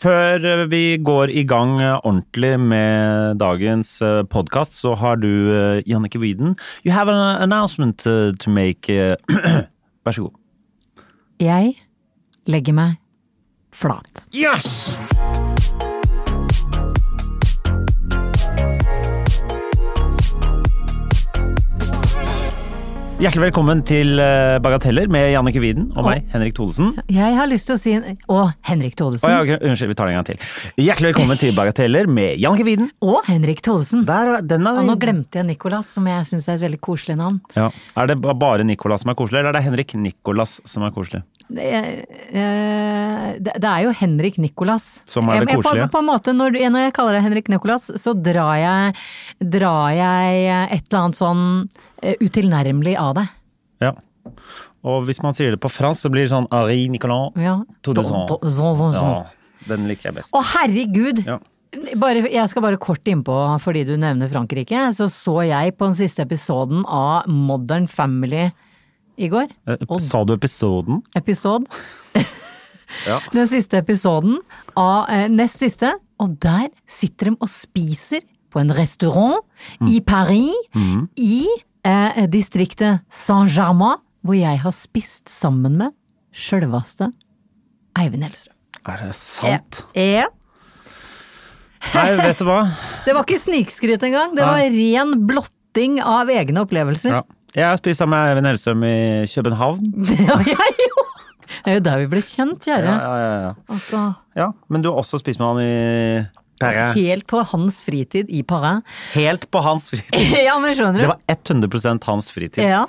Før eh, vi går i gang eh, ordentlig med dagens podkast, så har du eh, Jannicke Wieden. You have an announcement eh, to make. eh, Vær så god. Jeg legger meg flat. Yes! Hjertelig velkommen til eh, Bagateller med Jannicke Wieden og meg, Henrik Thodesen. Jeg har lyst til å si Og Henrik Å, Thodesen. ja, ok, unnskyld, vi tar det en gang til. Hjertelig velkommen til Bagateller med Jannicke Wieden. Og Henrik Thodesen. Der, den er, Og nå glemte jeg Nicolas, som jeg syns er et veldig koselig navn. ja. Er det ba- bare Nicolas som er koselig, eller er det Henrik Nicolas som er koselig? Det er- eh, det det er jo Henrik Nicolas. Som er det Jeg- jeg- koselige. På, på en måte, når, du- når jeg kaller deg Henrik Nicolas, så drar jeg, drar jeg et eller annet sånn eh, utilnærmelig av deg. Ja. Og hvis man sier det på fransk, så blir det sånn Ari Nicolas Ja. Thodesen. Do- do- sånn, sånn, sånn. Ja, den liker jeg best. Å herregud! Ja. Bare, jeg skal bare kort innpå, fordi du nevner Frankrike, så så jeg på den siste episoden av Modern Family i går. Eh, Sa du episoden? Episode. Ja. Den siste episoden av eh, nest siste, og der sitter de og spiser på en restaurant i Paris, i eh, distriktet Saint-Germain, hvor jeg har spist sammen med sjølveste Eivind Hellstrøm. Er det sant? Ja. Nei, vet du hva? Det var ikke snikskryt engang, det var ren blotting av egne opplevelser. Ja. Jeg har spist sammen med Even Hellstrøm i København. Det var jeg jo! Det er jo der vi ble kjent, kjære. Ja, ja, ja, ja. Altså, ja, Men du har også spist med han i Paris. helt på hans fritid i Paris. Helt på hans fritid. ja, men skjønner Det du? var 100 hans fritid. Ja,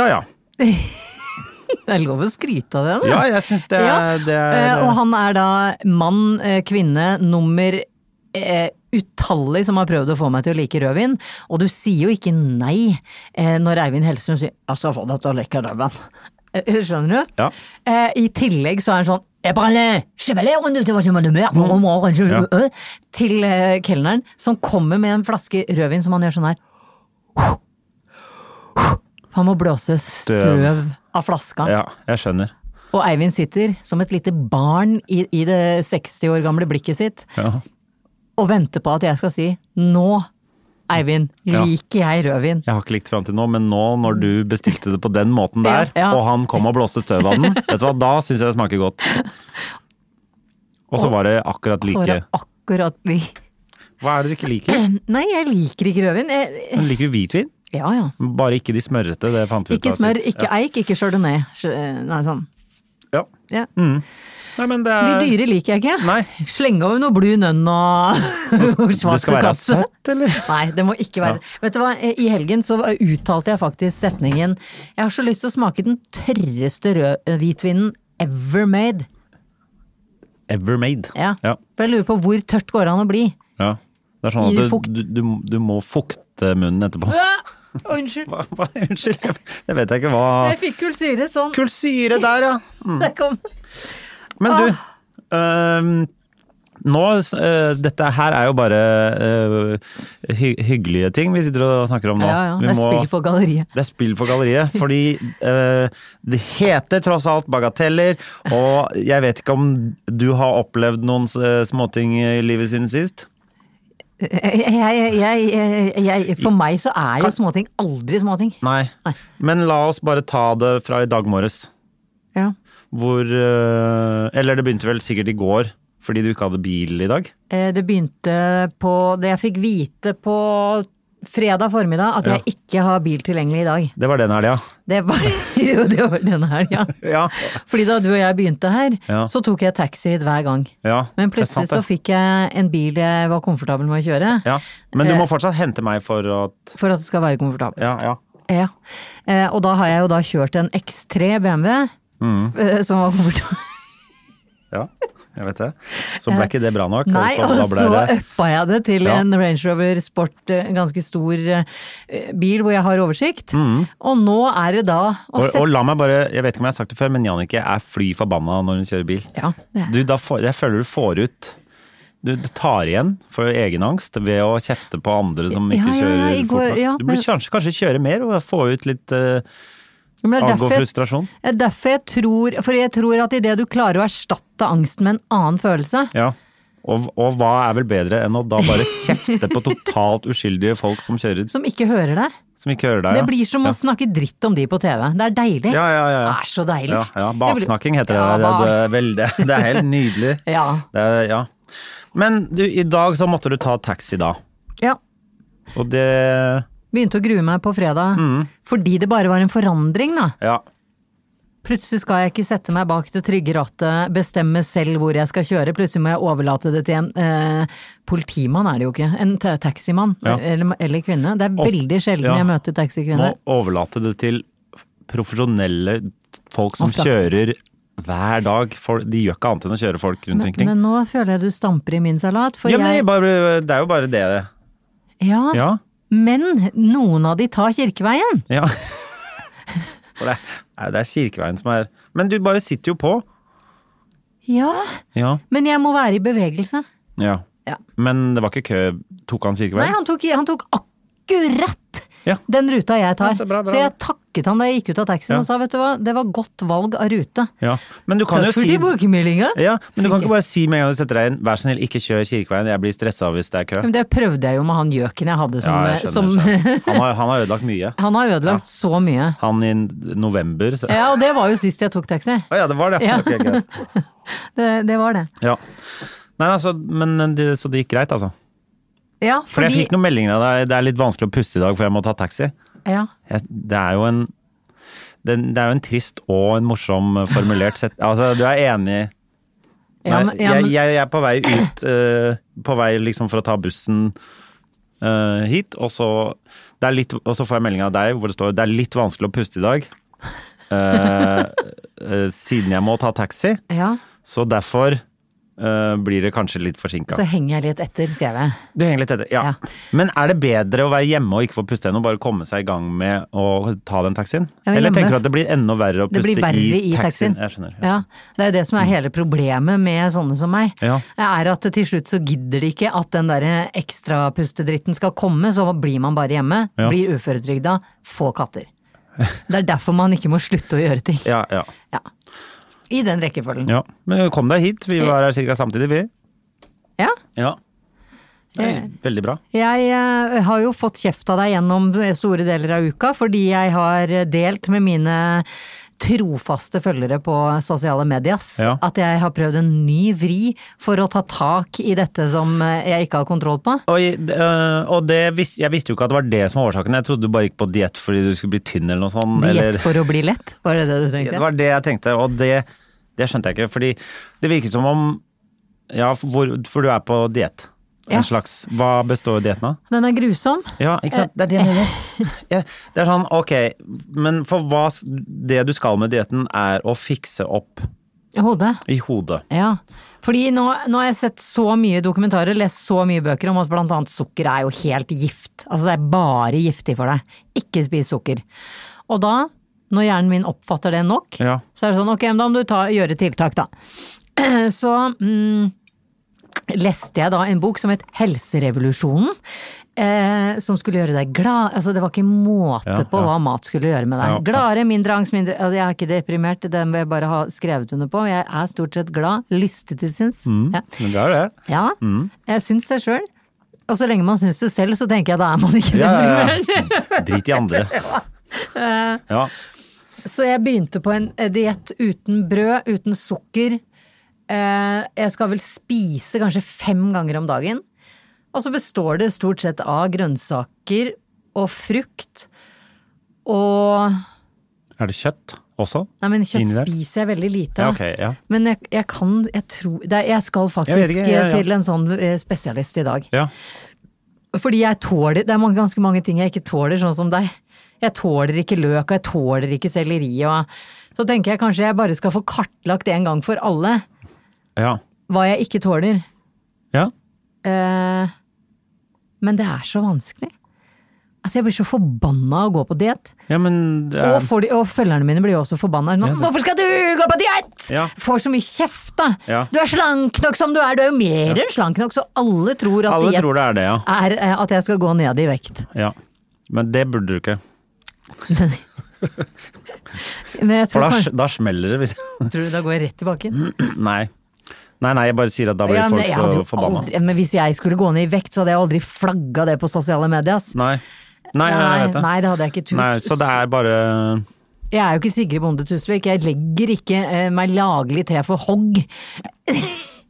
Ja ja. det er lov å skryte av det, da. Ja, jeg syns det Ja, er, det eh, Og er han er da mann, eh, kvinne, nummer eh, utallig som har prøvd å få meg til å like rødvin. Og du sier jo ikke nei eh, når Eivind Hellstrøm sier 'altså, få deg til å like rødvin'. Eh, Skjønner du? Ja. Eh, I tillegg så er han sånn «Jeg bare skjeveler rundt til hva som er nummer, Mm. hvor mange år er det?» Til eh, kelneren, som kommer med en flaske rødvin som han gjør sånn her. Han må blåse støv av flaska. Ja, jeg skjønner. Og Eivind sitter som et lite barn i, i det 60 år gamle blikket sitt Ja. og venter på at jeg skal si nå, Eivind, Ja. liker jeg rødvin. Jeg har ikke likt fram til nå, men nå når du bestilte det på den måten der, Ja, ja. og han kom og blåste støv av den, vet du hva, da syns jeg det smaker godt. Og så var det akkurat For like. å akkurat bli Hva er det du ikke liker? Nei, jeg liker ikke rødvin. Jeg, Men Liker du hvitvin? ja ja. Bare ikke de smørrete, det fant vi ut Ikke av smør, sist. ikke eik, ikke chardonnay. Ch- eh, Nei, sånn. Ja. Ja. Nei, men det De er... dyre liker jeg ikke. Mm. Nei. Slenge over noe Blue Nun og Det skal være Schwarzenkasse. søtt, eller? Nei, det må ikke være Vet du hva, i helgen så uttalte jeg faktisk setningen Jeg har så lyst til å smake den tørreste rød hvitvinen ever made. Ever made. Ja. Ja. For jeg lurer på hvor tørt går det an å bli? Ja. Det er sånn Gir at fukt. du, du, du, du må fukte munnen etterpå. Unnskyld. Hva, hva, unnskyld, jeg, det vet jeg ikke hva Jeg fikk kulsyre sånn. Kulsyre der, ja. Det kom. Men du øhm, Nå øh, Dette her er jo bare øh, hy hyggelige ting vi sitter og snakker om nå. Ja, ja. Vi Det er må- spill for galleriet. det er spill for galleriet, fordi øh, det heter tross alt bagateller, og jeg vet ikke om du har opplevd noen øh, småting i livet siden sist? Jeg, jeg, jeg, jeg, jeg, for meg så er jo Kan- småting aldri småting. Nei. Men la oss bare ta det fra i dag morges. Ja. Hvor øh, Eller det begynte vel sikkert i går, fordi du ikke hadde bil i dag. Eh, Det begynte på det jeg fikk vite på fredag formiddag, at jeg ikke har bil tilgjengelig i dag. Det var den helga. Det var, jo, det var denne helga. Ja. Fordi da du og jeg begynte her, Ja. så tok jeg taxi hit hver gang. ja. det Men er plutselig sant, det. så fikk jeg en bil jeg var komfortabel med å kjøre. Ja, men Eh. du må fortsatt hente meg for at For at det skal være komfortabel. Ja, ja. Ja. Mm. Eh, Og da har jeg jo da kjørt en X3 BMW, eh, som var komfortabel. jeg vet det. Så ble ikke det bra nok. Eh. Nei, og og så, da så ble det uppa jeg det til Ja. en Range Rover Sport, eh, en ganske stor eh, bil hvor jeg har oversikt. Og nå er det da å Mm. og, sette og la meg bare, jeg vet ikke om jeg har sagt det før, men Jannicke er fly forbanna når hun kjører bil. Ja, det er. Du, da får, jeg føler du får ut Du du tar igjen for egen angst ved å kjefte på andre som Ja, ikke ja, ja, kjører i går- fort nok. ja, du burde men- kanskje, kanskje kjøre mer og få ut litt uh, Men det er agg og derfor, frustrasjon. det er derfor jeg tror For jeg tror at idet du klarer å erstatte angsten med en annen følelse, Ja. Og, og hva er vel bedre enn å da bare kjefte på totalt uskyldige folk som kjører som ikke hører deg Som ikke hører deg, Det blir som å snakke dritt om de på TV. Det er deilig. Ja, ja, ja. ja. Det er så deilig. ja, ja. Jeg blir- Baksnakking heter det. Ja, det, bak- det, er vel, det. Det er helt nydelig. Ja. Det er, ja. Men du, i dag så måtte du ta taxi, da. ja. Og det Begynte å grue meg på fredag. Mm. Fordi det bare var en forandring, da. Ja. Plutselig skal jeg ikke sette meg bak det trygge rattet, bestemme selv hvor jeg skal kjøre. Plutselig må jeg overlate det til en eh, politimann, er det jo ikke. En ta- taximann. Ja. Eller, eller kvinne. Det er Og- veldig sjelden ja. jeg møter Må taxikvinner. overlate det til profesjonelle folk som Og frakte. kjører hver dag. For de gjør ikke annet enn å kjøre folk rundt Men, omkring. men nå føler jeg du stamper i min salat, for Ja, men det er jeg bare, det er jo bare det. det. ja, Ja. men noen av de tar Kirkeveien. ja. For det, er- det er Kirkeveien som er Men du bare sitter jo på. Ja, Ja. men jeg må være i bevegelse. ja. Ja. Men det var ikke kø. Tok han Nei, Kirkeveien? han tok, han tok akkurat Ja. den ruta jeg tar. Ja, så bra, bra, jeg takket han da jeg gikk ut av taxien Ja. og sa vet du hva, det var godt valg av rute. Ja. Men du kan jo Takk for si tilbakemeldinga. Ja, men du kan ikke bare si med en gang du setter deg inn, vær så snill, ikke kjør Kirkeveien, jeg blir stressa hvis det er kø. Men det prøvde jeg jo med han gjøken jeg hadde Ja, som, eh, jeg skjønner. som jeg skjønner. Han har, han har ødelagt mye. Han har ødelagt så mye. Han i november så. Ja, og det var jo sist jeg tok taxi. Å ja, det var det. Ja. Ok, greit. Det, det var det. ja. Nei, altså, men det, Så det gikk greit, altså? Ja, For jeg fordi fikk noen meldinger av deg, det er litt vanskelig å puste i dag for jeg må ta taxi. ja. Jeg, det er jo en det, det er jo en trist og en morsom formulert sett... Altså, du er enig Nei, Ja, men, ja, jeg, men, jeg, jeg er på vei ut eh, På vei liksom for å ta bussen eh, hit, og så, det er litt, og så får jeg melding av deg hvor det står det er litt vanskelig å puste i dag. eh, eh, siden jeg må ta taxi, ja. så derfor eh, blir det kanskje litt forsinka. Så henger jeg litt etter, skrev jeg. Du henger litt etter, ja. Ja. Men er det bedre å være hjemme og ikke få puste enn å bare komme seg i gang med å ta den taxien? Ja, men Eller hjemme- tenker du at det blir enda verre å Det puste blir verre i, i taxien. Jeg skjønner. Ja. Mm. Ja, det er jo det som er hele problemet med sånne som meg. Ja. Er at til slutt så gidder de ikke at den derre ekstrapustedritten skal komme, så blir man bare hjemme. Ja. Blir uføretrygda, få katter. Det er derfor man ikke må slutte å gjøre ting. Ja, ja, Ja. I den rekkefølgen. ja. Men kom deg hit, vi var her ca. samtidig, vi. Ja. Ja. Det er Eh. veldig bra. Jeg eh, har jo fått kjeft av deg gjennom store deler av uka, fordi jeg har delt med mine trofaste følgere på sosiale medias Ja. at jeg har prøvd en ny vri for å ta tak i dette som eh, jeg ikke har kontroll på. Og, i- d- øh, og det, vis- jeg visste jo ikke at det var det som var årsaken. Jeg trodde du bare gikk på diett fordi du skulle bli tynn eller noe sånt. eller- Diett for å bli lett, var det det du Det tenkte? var det jeg tenkte, og det, det skjønte jeg ikke. Fordi det virket som om Ja, for, hvor- for du er på diett. En Ja. slags. Hva består dietten av? Den er grusom. Ja, ikke Eh, sant? Det er det jeg mener. Ja, Det er sånn, ok, men for hva s- Det du skal med dietten, er å fikse opp Hodet. i hodet. Ja. Fordi nå, nå har jeg sett så mye dokumentarer, lest så mye bøker om at blant annet sukker er jo helt gift. Altså det er bare giftig for deg. Ikke spis sukker. Og da, når hjernen min oppfatter det nok, Ja. så er det sånn ok, men da må du ta, gjøre tiltak da. Så mm, leste jeg da en bok som het Helserevolusjonen. Eh, som skulle gjøre deg glad. Altså, det var ikke måte Ja, på ja. hva mat skulle gjøre med deg. Ja, ja. Gladere, mindre angst, mindre altså, Jeg er ikke deprimert, den vil jeg bare ha skrevet under på. Jeg er stort sett glad, lystig til sinns. Ja. Men det er det. ja. Mm. Jeg syns det sjøl. Og så lenge man syns det selv, så tenker jeg da er man ikke Ja, ja, ja. deprimert. Drit i andre. Ja. Så jeg begynte på en eh, diett uten brød, uten sukker. Eh, Jeg skal vel spise kanskje fem ganger om dagen. Og så består det stort sett av grønnsaker og frukt. Og Er det kjøtt også? Nei, men kjøtt Inni der? spiser jeg veldig lite Ja, av. ok, ja. Men jeg, jeg kan Jeg tror det er- Jeg skal faktisk vet ikke, ja, ja. til en sånn eh, spesialist i dag. Ja. Fordi jeg tåler Det er mange, ganske mange ting jeg ikke tåler, sånn som deg. Jeg tåler ikke løk, og jeg tåler ikke selleri, og så tenker jeg kanskje jeg bare skal få kartlagt en gang for alle ja. hva jeg ikke tåler. Ja. Eh, men det er så vanskelig. Altså, jeg blir så forbanna av å gå på diett. ja, men det er, Og, for de, og følgerne mine blir jo også forbanna. Nå, Ja, så- 'Hvorfor skal du gå på diett?!' Ja. Får så mye kjeft, da. Ja. Du er slank nok som du er, du er jo mer enn slank nok, så alle tror at Alle diett tror det er det, ja. er eh, at jeg skal gå ned i vekt. ja. Men det burde du ikke. Men jeg For da, tror, kanskje- sm- da smeller det hvis tror du da går jeg rett i bakken? Nei. Nei, nei, jeg bare sier at da blir Ja, men folk jeg så hadde jo forbanna. aldri- Men hvis jeg skulle gå ned i vekt, så hadde jeg aldri flagga det på sosiale medier. ass. Nei. Nei, nei, jeg vet det. nei, det hadde jeg ikke turt. Nei, så det er bare Jeg er jo ikke Sigrid Bonde Tusvik, jeg legger ikke eh, meg laglig til for hogg.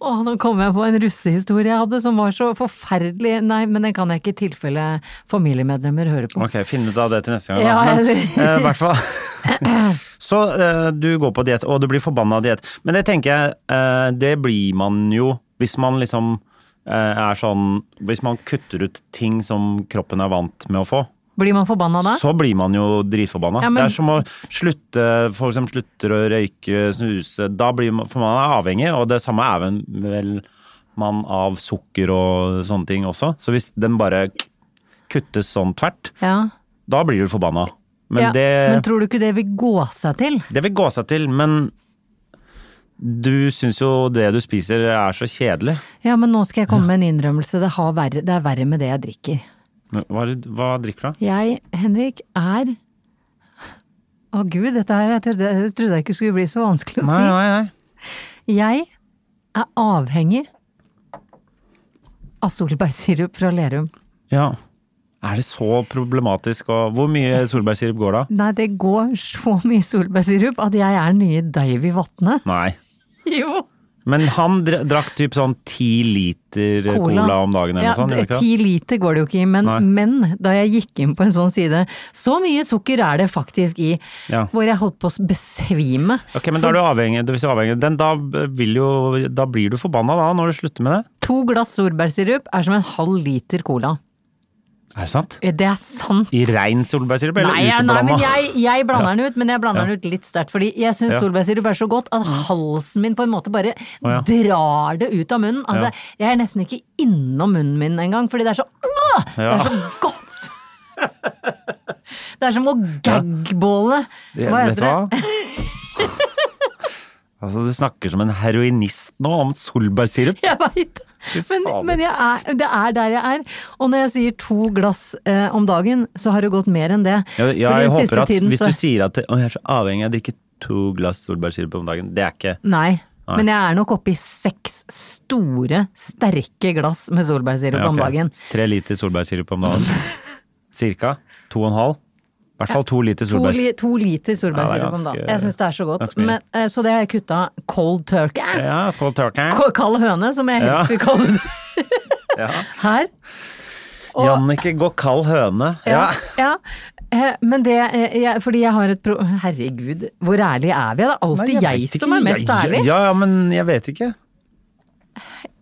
Å, nå kom jeg på en russehistorie jeg hadde som var så forferdelig. Nei, men den kan jeg ikke i tilfelle familiemedlemmer hører på. Ok, finn ut av det til neste gang. da. Ja, Men, jeg- eh, i hvert fall. Så eh, du går på diett, og du blir forbanna av diett. Men det tenker jeg, eh, det blir man jo hvis man liksom eh, er sånn Hvis man kutter ut ting som kroppen er vant med å få, Blir man forbanna da? så blir man jo dritforbanna. Ja, men- Det er som å slutte Folk som slutter å røyke, snuse Da blir man For man er avhengig, og det samme er vel- vel man av sukker og sånne ting også. Så hvis den bare kuttes sånn tvert, Ja. da blir du forbanna. Men ja. det men tror du ikke det vil gå seg til? det vil gå seg til, men du syns jo det du spiser er så kjedelig. Ja, men nå skal jeg komme med en innrømmelse. Det, har verre, det er verre med det jeg drikker. Men Hva, er det- hva drikker du, da? Jeg, Henrik, er Å gud, dette her jeg trodde, jeg trodde jeg ikke skulle bli så vanskelig å si. Nei, nei, nei. Jeg er avhengig av solbærsirup fra Lerum. Ja. Er det så problematisk, og hvor mye solbærsirup går da? Nei, det går så mye solbærsirup at jeg er den nye Davy Vatne. Nei. Jo! Men han dr- drakk typ sånn ti liter cola, om dagen eller noe ja, sånt? gjorde det- ikke det? Ti liter går det jo ikke i, men, Nei. men da jeg gikk inn på en sånn side Så mye sukker er det faktisk i, Ja. hvor jeg holdt på å besvime. Ok, men da er du avhengig, hvis du er avhengig den, da, vil jo, da blir du forbanna da, når du slutter med det. To glass solbærsirup er som en halv liter cola. Er det sant? Eh, Det er sant! I rein solbærsirup, eller Nei, ja, nei, uteblanda? men jeg, jeg blander den ut, men jeg blander den ut litt sterkt. Fordi jeg syns Ja. solbærsirup er så godt at halsen min på en måte bare ja. drar det ut av munnen. Altså, Ja. Jeg er nesten ikke innom munnen min engang, fordi det er så Åh! Det Ja. er så godt! Det er som å gagbåle. Det- Hva vet heter det? du Hva? altså, du snakker som en heroinist nå om solbærsirup. Jeg veit. Men, fader. men jeg er, det er der jeg er. Og når jeg sier to glass eh, om dagen, så har det gått mer enn det. Ja, Jeg, Fordi den siste håper at tiden hvis så- du sier at å, jeg er så avhengig av å drikke to glass solbærsirup om dagen, det er ikke Nei. Men jeg er nok oppe i seks store, sterke glass med solbærsirup Ja, om ok. dagen. Tre liter solbærsirup om dagen. Cirka. To og en halv. I hvert fall to liter To, solbærsirup. li, to liter solbærsirup Ja, det er om dagen. ganske- Jeg syns det er så godt. ganske mye. Men, eh, så det har jeg kutta cold turkey. Eh, Ja, skål turkey. K- Kald høne, som jeg Ja. helst vil kalle det Ja. her. Og- Jannicke går kald høne. Ja. ja. Eh, Men det eh, jeg, Fordi jeg har et pro... Herregud, hvor ærlig er vi? Det er Nei, jeg alltid jeg, vet ikke. som er Jeg- mest ærlig. Ja, ja, men jeg vet ikke.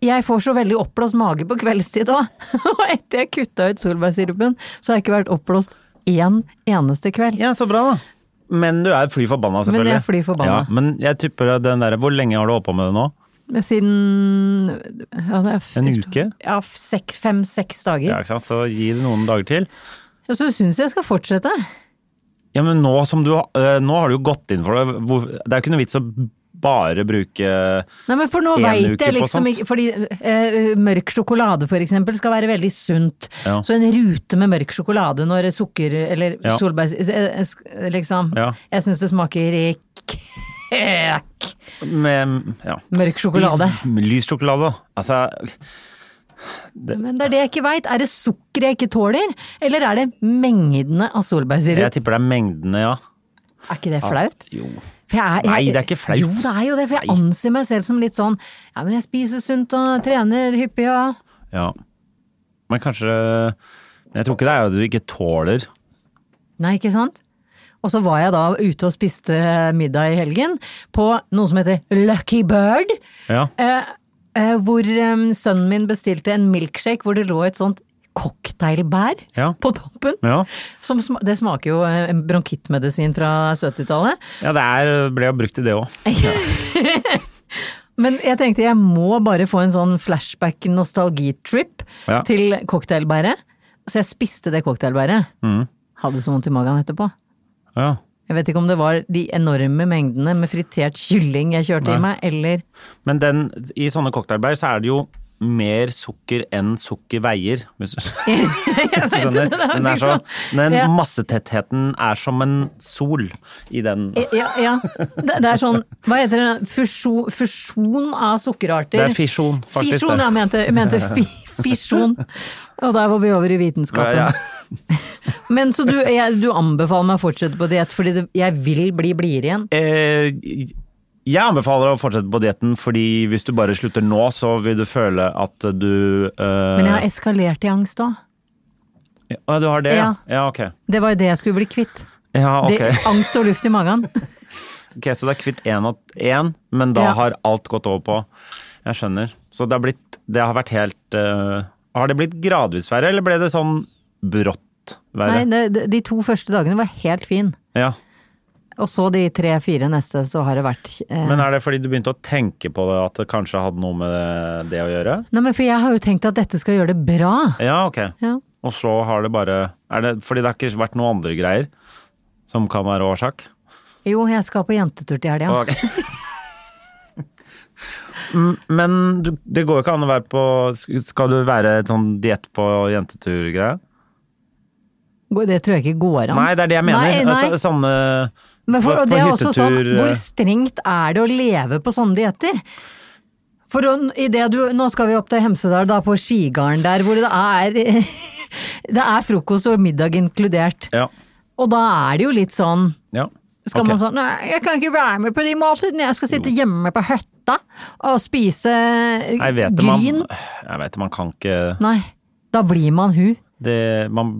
Jeg får så veldig oppblåst mage på kveldstid òg. Og etter jeg kutta ut solbærsirupen, så har jeg ikke vært oppblåst én eneste kveld. Ja, så bra da. Men du er fly forbanna, selvfølgelig. Men jeg er fly forbanna. Ja, men jeg tipper at den der, hvor lenge har du holdt på med det nå? Men Siden ja, det er f- En uke? Ja, seks, fem-seks Ja, dager. ikke sant? Så gi det noen dager til. Og så syns jeg jeg skal fortsette. Ja, men nå, som du, har- øh, nå har du jo gått inn for det. Hvor- Det er jo ikke noe vits å bare bruke Nei, men for nå En veit uke jeg på liksom sånt. ikke Fordi eh, mørk sjokolade for eksempel skal være veldig sunt. Ja. Så en rute med mørk sjokolade når sukker eller Ja. solbær eh, eh, sk- Liksom. Ja. Jeg syns det smaker kæk med, ja. mørk sjokolade. Lys, lys sjokolade. da. Altså, Men det er det jeg ikke veit. Er det sukker jeg ikke tåler? Eller er det mengdene av jeg solbærsirup? tipper det er mengdene, ja. Er ikke det flaut? Jo. For jeg Nei, det er ikke flaut. Jo, det er jo det, for jeg Nei. anser meg selv som litt sånn Ja, men jeg spiser sunt og trener hyppig og Ja. Men kanskje Men jeg tror ikke det er at du ikke tåler. Nei, ikke sant? Og så var jeg da ute og spiste middag i helgen på noe som heter Lucky Bird. Ja. Eh, eh, hvor eh, sønnen min bestilte en milkshake hvor det lå et sånt cocktailbær Ja. på toppen. Ja, Som, sma- det smaker jo eh, bronkittmedisin fra 70-tallet. ja det er, ble jo brukt i det òg. Men jeg tenkte jeg må bare få en sånn flashback nostalgitrip Ja. til cocktailbæret. Så jeg spiste det cocktailbæret. Mm. Hadde så vondt i magen etterpå. Ja. Jeg vet ikke om det var de enorme mengdene med fritert kylling jeg kjørte i meg, eller Men den, i sånne cocktailbær så er det jo mer sukker enn sukker veier. Hvis du Jeg hvis du vet skjønner. det, det var Den, er så, liksom- den Ja. massetettheten er som en sol i den Ja, ja. Det, det er sånn, hva heter det, fusjon, fusjon av sukkerarter. Det er fisjon, faktisk, Fisjon, det. jeg mente, jeg mente fi, fisjon. Og der var vi over i vitenskapen. Ja, Men så du, jeg, du anbefaler meg å fortsette på diett, fordi det, jeg vil bli blidere igjen. Eh, jeg anbefaler å fortsette på dietten, fordi hvis du bare slutter nå, så vil du føle at du eh, Men jeg har eskalert i angst òg. Å, du har det, ja? Ja. Ja, ok. Det var jo det jeg skulle bli kvitt. Ja, ok. Det, angst og luft i magen. Ok, Så det er kvitt én og én, men da Ja. har alt gått over på Jeg skjønner. Så det har blitt Det har vært helt eh, Har det blitt gradvis verre, eller ble det sånn brått verre? Nei, det, det- de to første dagene var helt fin. Ja. Og så de tre-fire neste, så har det vært eh, Men er det fordi du begynte å tenke på det, at det kanskje hadde noe med det å gjøre? Nei, men for jeg har jo tenkt at dette skal gjøre det bra. Ja, ok. Ja. Og så har det bare er det, Fordi det har ikke vært noen andre greier som kan være årsak? Jo, jeg skal på jentetur til helga. Ok. Mm, Men du, det går jo ikke an å være på Skal du være et sånn diett på jentetur-greie? Gå- Det tror jeg ikke går an. Nei, det er det jeg mener. Nei, nei. Altså, sånne Men for, på- og på det er også sånn, hyttetur, hvor eh, strengt er det å leve på sånne dietter? For å- i det du, nå skal vi opp til Hemsedal, da, på Skigarden der, hvor det er Det er frokost og middag inkludert. Ja. Og da er det jo litt sånn ja. Skal Ok. man sånn Nei, jeg kan ikke være med på de måltidene, jeg skal sitte hjemme på hytta og spise Jeg vet det, man, gryn. jeg vet det, man kan ikke Nei, da blir man hun. det, man,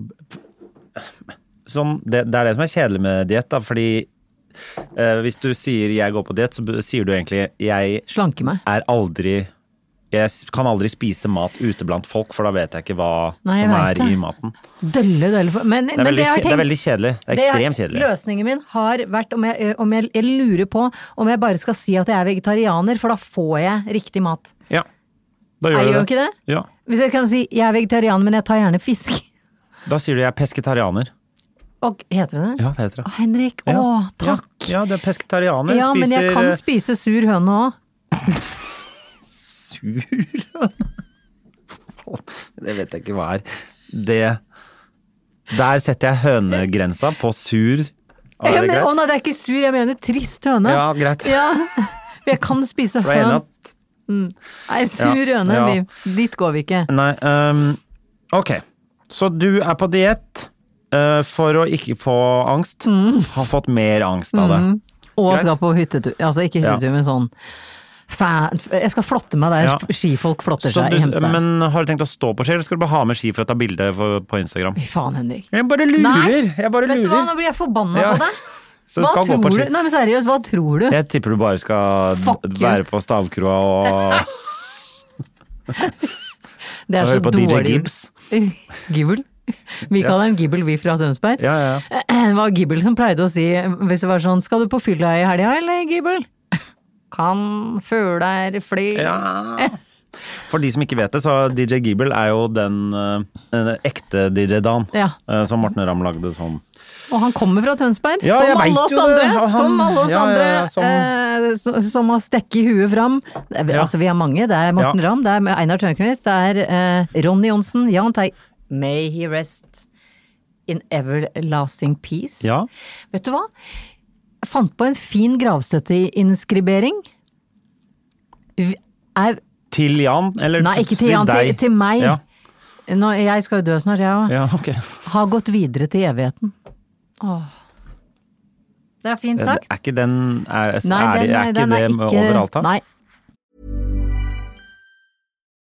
sånn, det, det er det som er kjedelig med diett, da, fordi eh, hvis du sier 'jeg går på diett', så b- sier du egentlig 'jeg Slanke meg. er aldri Jeg s- kan aldri spise mat ute blant folk, for da vet jeg ikke hva Nei, jeg som er vet det. i maten. Dølle, dølle for Men, Det er, men veldig, det jeg kje- har det er tenkt veldig kjedelig. Det er Det er- ekstremt kjedelig. Løsningen min har vært, om jeg, om jeg, jeg lurer på om jeg bare skal si at jeg er vegetarianer, for da får jeg riktig mat. Ja, da Jeg gjør gjør du jo det. ikke det. Ja. Hvis jeg kan si jeg er vegetarianer, men jeg tar gjerne fisk. Da sier du 'jeg er pesketarianer'. Og heter det det? Ja, det heter Å, det. Henrik, Ja. å takk. Ja, ja, du er pesketarianer. Ja, men jeg spiser kan eh, spise sur høne òg. sur Det vet jeg ikke hva er. Det Der setter jeg hønegrensa på sur. Er Ja, det men- å greit? nei, det er ikke sur, jeg mener trist høne. Ja, greit. Ja. Men Jeg kan spise For jeg er enig høne. at Nei, sur Ja, høne. ja. blir- Dit går vi ikke. Nei, ehm, ok. Så du er på diett eh, for å ikke få angst. Mm. Har fått mer angst av det. Og Greit. skal på hyttetur. Altså ikke Ja. hyttetur, men sånn fan, Jeg skal flotte meg der Ja. skifolk flotter Så seg du, i Hemsedal. men har du tenkt å stå på ski, eller skal du bare ha med ski for å ta bilde for- på Instagram? Fy faen, Henrik. Jeg bare lurer! Jeg bare Vet du hva, lurer. nå blir jeg forbanna Ja. på deg. Så du Hva skal gå tror på du? ski. Nei, men seriøst, hva tror du? Jeg tipper du bare skal Fuck you. være på stavkroa og, og Det er så høre på DJ dårlig. Gibbs. Gibbel? Vi kaller den Gibbel, vi fra Tønsberg. Ja, ja, ja. Det var Gibbel som pleide å si, hvis det var sånn, skal du på fylla i helga, eller Gibbel? Kan fugler fly? Ja. For de som ikke vet det, så DJ Giebel er jo den eh, den ekte DJ Dan. Ja. eh, Som Morten Ramm lagde som Og han kommer fra Tønsberg, Ja, jeg som, vet alle oss jo det. andre, Han- som alle oss Ja, ja, andre, ja, som- eh, som, som har stekket i huet fram. Det er- Ja. Altså, vi er mange. Det er Morten Ja. Ramm, det er Einar Tørnquist, det er eh, Ronny Johnsen, Jan Tei. May he rest in everlasting peace. Ja. Vet du hva? Jeg fant på en fin gravstøtteinskribering. Vi- Er, Til Jan, eller nei, ikke til Jan, til, deg? til meg. Ja, Nå, jeg skal jo dø snart, jeg òg. ja, ok. Har gått videre til evigheten. Åh. Det er fint Er sagt. ikke den Er, er, Nei, det- den, nei, er ikke den er det ikke overalt, da? Nei.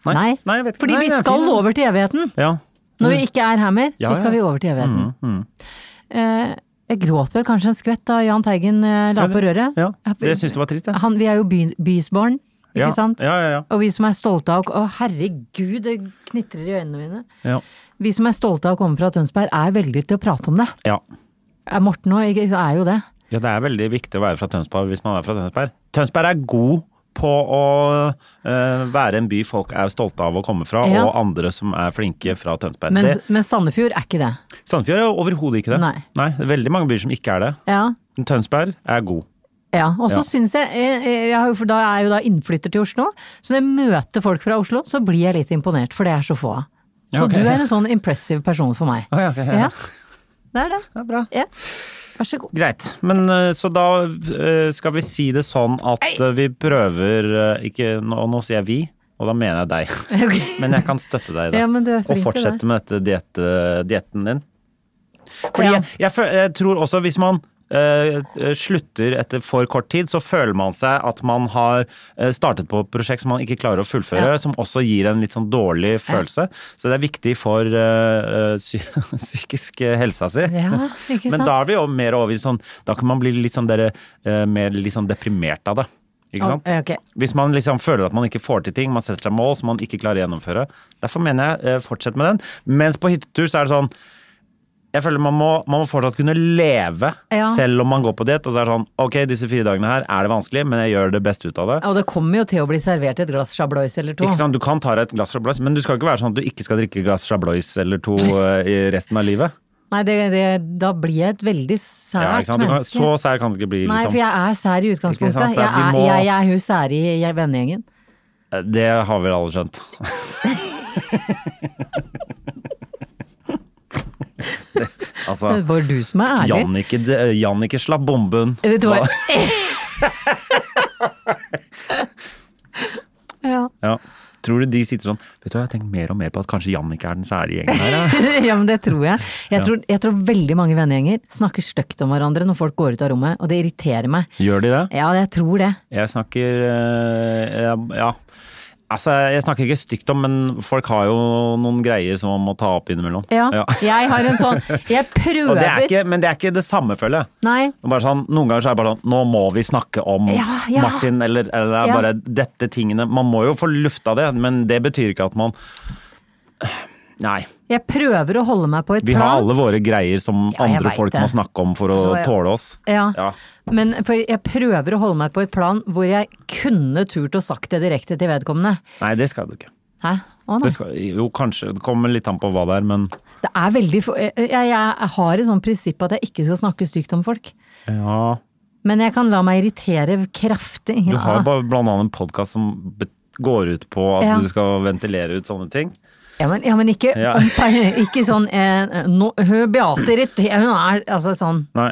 Nei, Nei, nei, jeg vet ikke. fordi Nei, vi det er skal fint, ja. over til evigheten. Ja. Når vi ikke er her mer, Ja, så ja. skal Mm. vi over til evigheten. Eh, Jeg gråt vel kanskje en skvett da Jahn Teigen eh, la Ja, det- på røret. ja. Det synes jeg var trist, jeg. Han, vi er jo by, bysbarn, ikke Ja, sant? ja, ja, ja. Og vi som er stolte av å Å, herregud, det knitrer i øynene mine. Ja. Vi som er stolte av å komme fra Tønsberg, er veldig til å prate om det. Ja. Eh, Morten òg er jo det. ja, det er veldig viktig å være fra Tønsberg hvis man er fra Tønsberg. Tønsberg er god på å eh, være en by folk er stolte av å komme fra, Ja. og andre som er flinke fra Tønsberg. Men, Det- men Sandefjord er ikke det. Sandefjord er overhodet ikke det. Nei. det er veldig mange byer som ikke er det. Ja. Men Tønsberg er god. Ja, og så Ja. synes syns jeg, jeg, jeg, har jo- for da er jeg jo da innflytter til Oslo, så når jeg møter folk fra Oslo, så blir jeg litt imponert, for det er så få av. Så Ja, ok. du er en sånn impressive person for meg. ja, ok, ja, ja. Det er det. Det er bra. Ja. Vær så god. Greit. Men eh, så da eh, skal vi si det sånn at eh, vi prøver eh, ikke, nå, nå sier jeg vi, og da mener jeg deg. Ok. Men jeg kan støtte deg i det. Ja, men du er og flink til fortsette det. med dette diet- dietten din. Fordi Ja. jeg, jeg, fø- jeg tror også hvis man eh, eh, slutter etter for kort tid, så føler man seg at man har eh, startet på et prosjekt som man ikke klarer å fullføre, Ja. som også gir en litt sånn dårlig følelse. Så det er viktig for eh, eh, psy psykisk eh, helsa si. Ja, ikke Men sant? da er vi jo mer over i sånn Da kan man bli litt sånn der, eh, mer litt sånn deprimert av det. Ikke sant? Å, ok. Hvis man liksom føler at man ikke får til ting, man setter seg mål som man ikke klarer å gjennomføre. Derfor mener jeg eh, fortsett med den. Mens på hyttetur så er det sånn jeg føler Man må, man må fortsatt kunne leve Ja. selv om man går på diett. Og så er det sånn Ok, disse fire dagene her er det vanskelig, men jeg gjør det beste ut av det. Og det kommer jo til å bli servert et glass chablois eller to. Ikke sant? Du kan ta deg et glass Chablois, men du skal ikke være sånn at du ikke skal drikke et glass Chablois eller to eh, i resten av livet. Nei, det, det, da blir jeg et veldig Ja, sært ikke sant? Du kan, menneske. så sær kan det ikke bli, Nei, for liksom. jeg er sær i Ikke sant, utgangspunktet. så Jeg vi er, må- jeg, jeg er hun sære i i vennegjengen. Eh, Det har vel alle skjønt. det, altså Det var du som er ærlig. Jannicke, Jannicke slapp bomben. Vet du hva? ja. Ja. Tror du de sitter sånn Vet du hva, jeg tenker mer og mer på at kanskje Jannicke er den sære gjengen her. ja. ja, men det tror jeg. Jeg tror, jeg tror veldig mange vennegjenger snakker stygt om hverandre når folk går ut av rommet, og det irriterer meg. Gjør de det? Ja, jeg tror det. Jeg snakker eh, jeg- Ja. Altså, jeg snakker ikke stygt om, men folk har jo noen greier som man må ta opp innimellom. Ja. Ja. Jeg har en sånn Jeg prøver Og det er ikke, men det er ikke det samme, føler jeg. Nei. Det er Bare sånn, noen ganger så er det bare sånn Nå må vi snakke om Ja, ja. Martin, eller, eller det er Ja. bare dette tingene Man må jo få lufta det, men det betyr ikke at man Nei. Jeg prøver å holde meg på et Vi har plan. alle våre greier som Ja, jeg andre vet folk det. må snakke om for å Så jeg- tåle oss. Ja. Ja. Men for jeg prøver å holde meg på et plan hvor jeg kunne turt å sagt det direkte til vedkommende. Nei, det skal du ikke. Hæ? Å nei. Det skal, jo, kanskje. Det kommer litt an på hva det er, men Det er veldig få- jeg, jeg, jeg har et sånt prinsipp at jeg ikke skal snakke stygt om folk. ja Men jeg kan la meg irritere kraftig. Du har av- jo bare blant annet en podkast som be- går ut på at Ja. du skal ventilere ut sånne ting. Ja, men, ja, men ikke, Ja. ikke sånn eh, nå- hun Beate irriterer Hun er altså sånn Nei.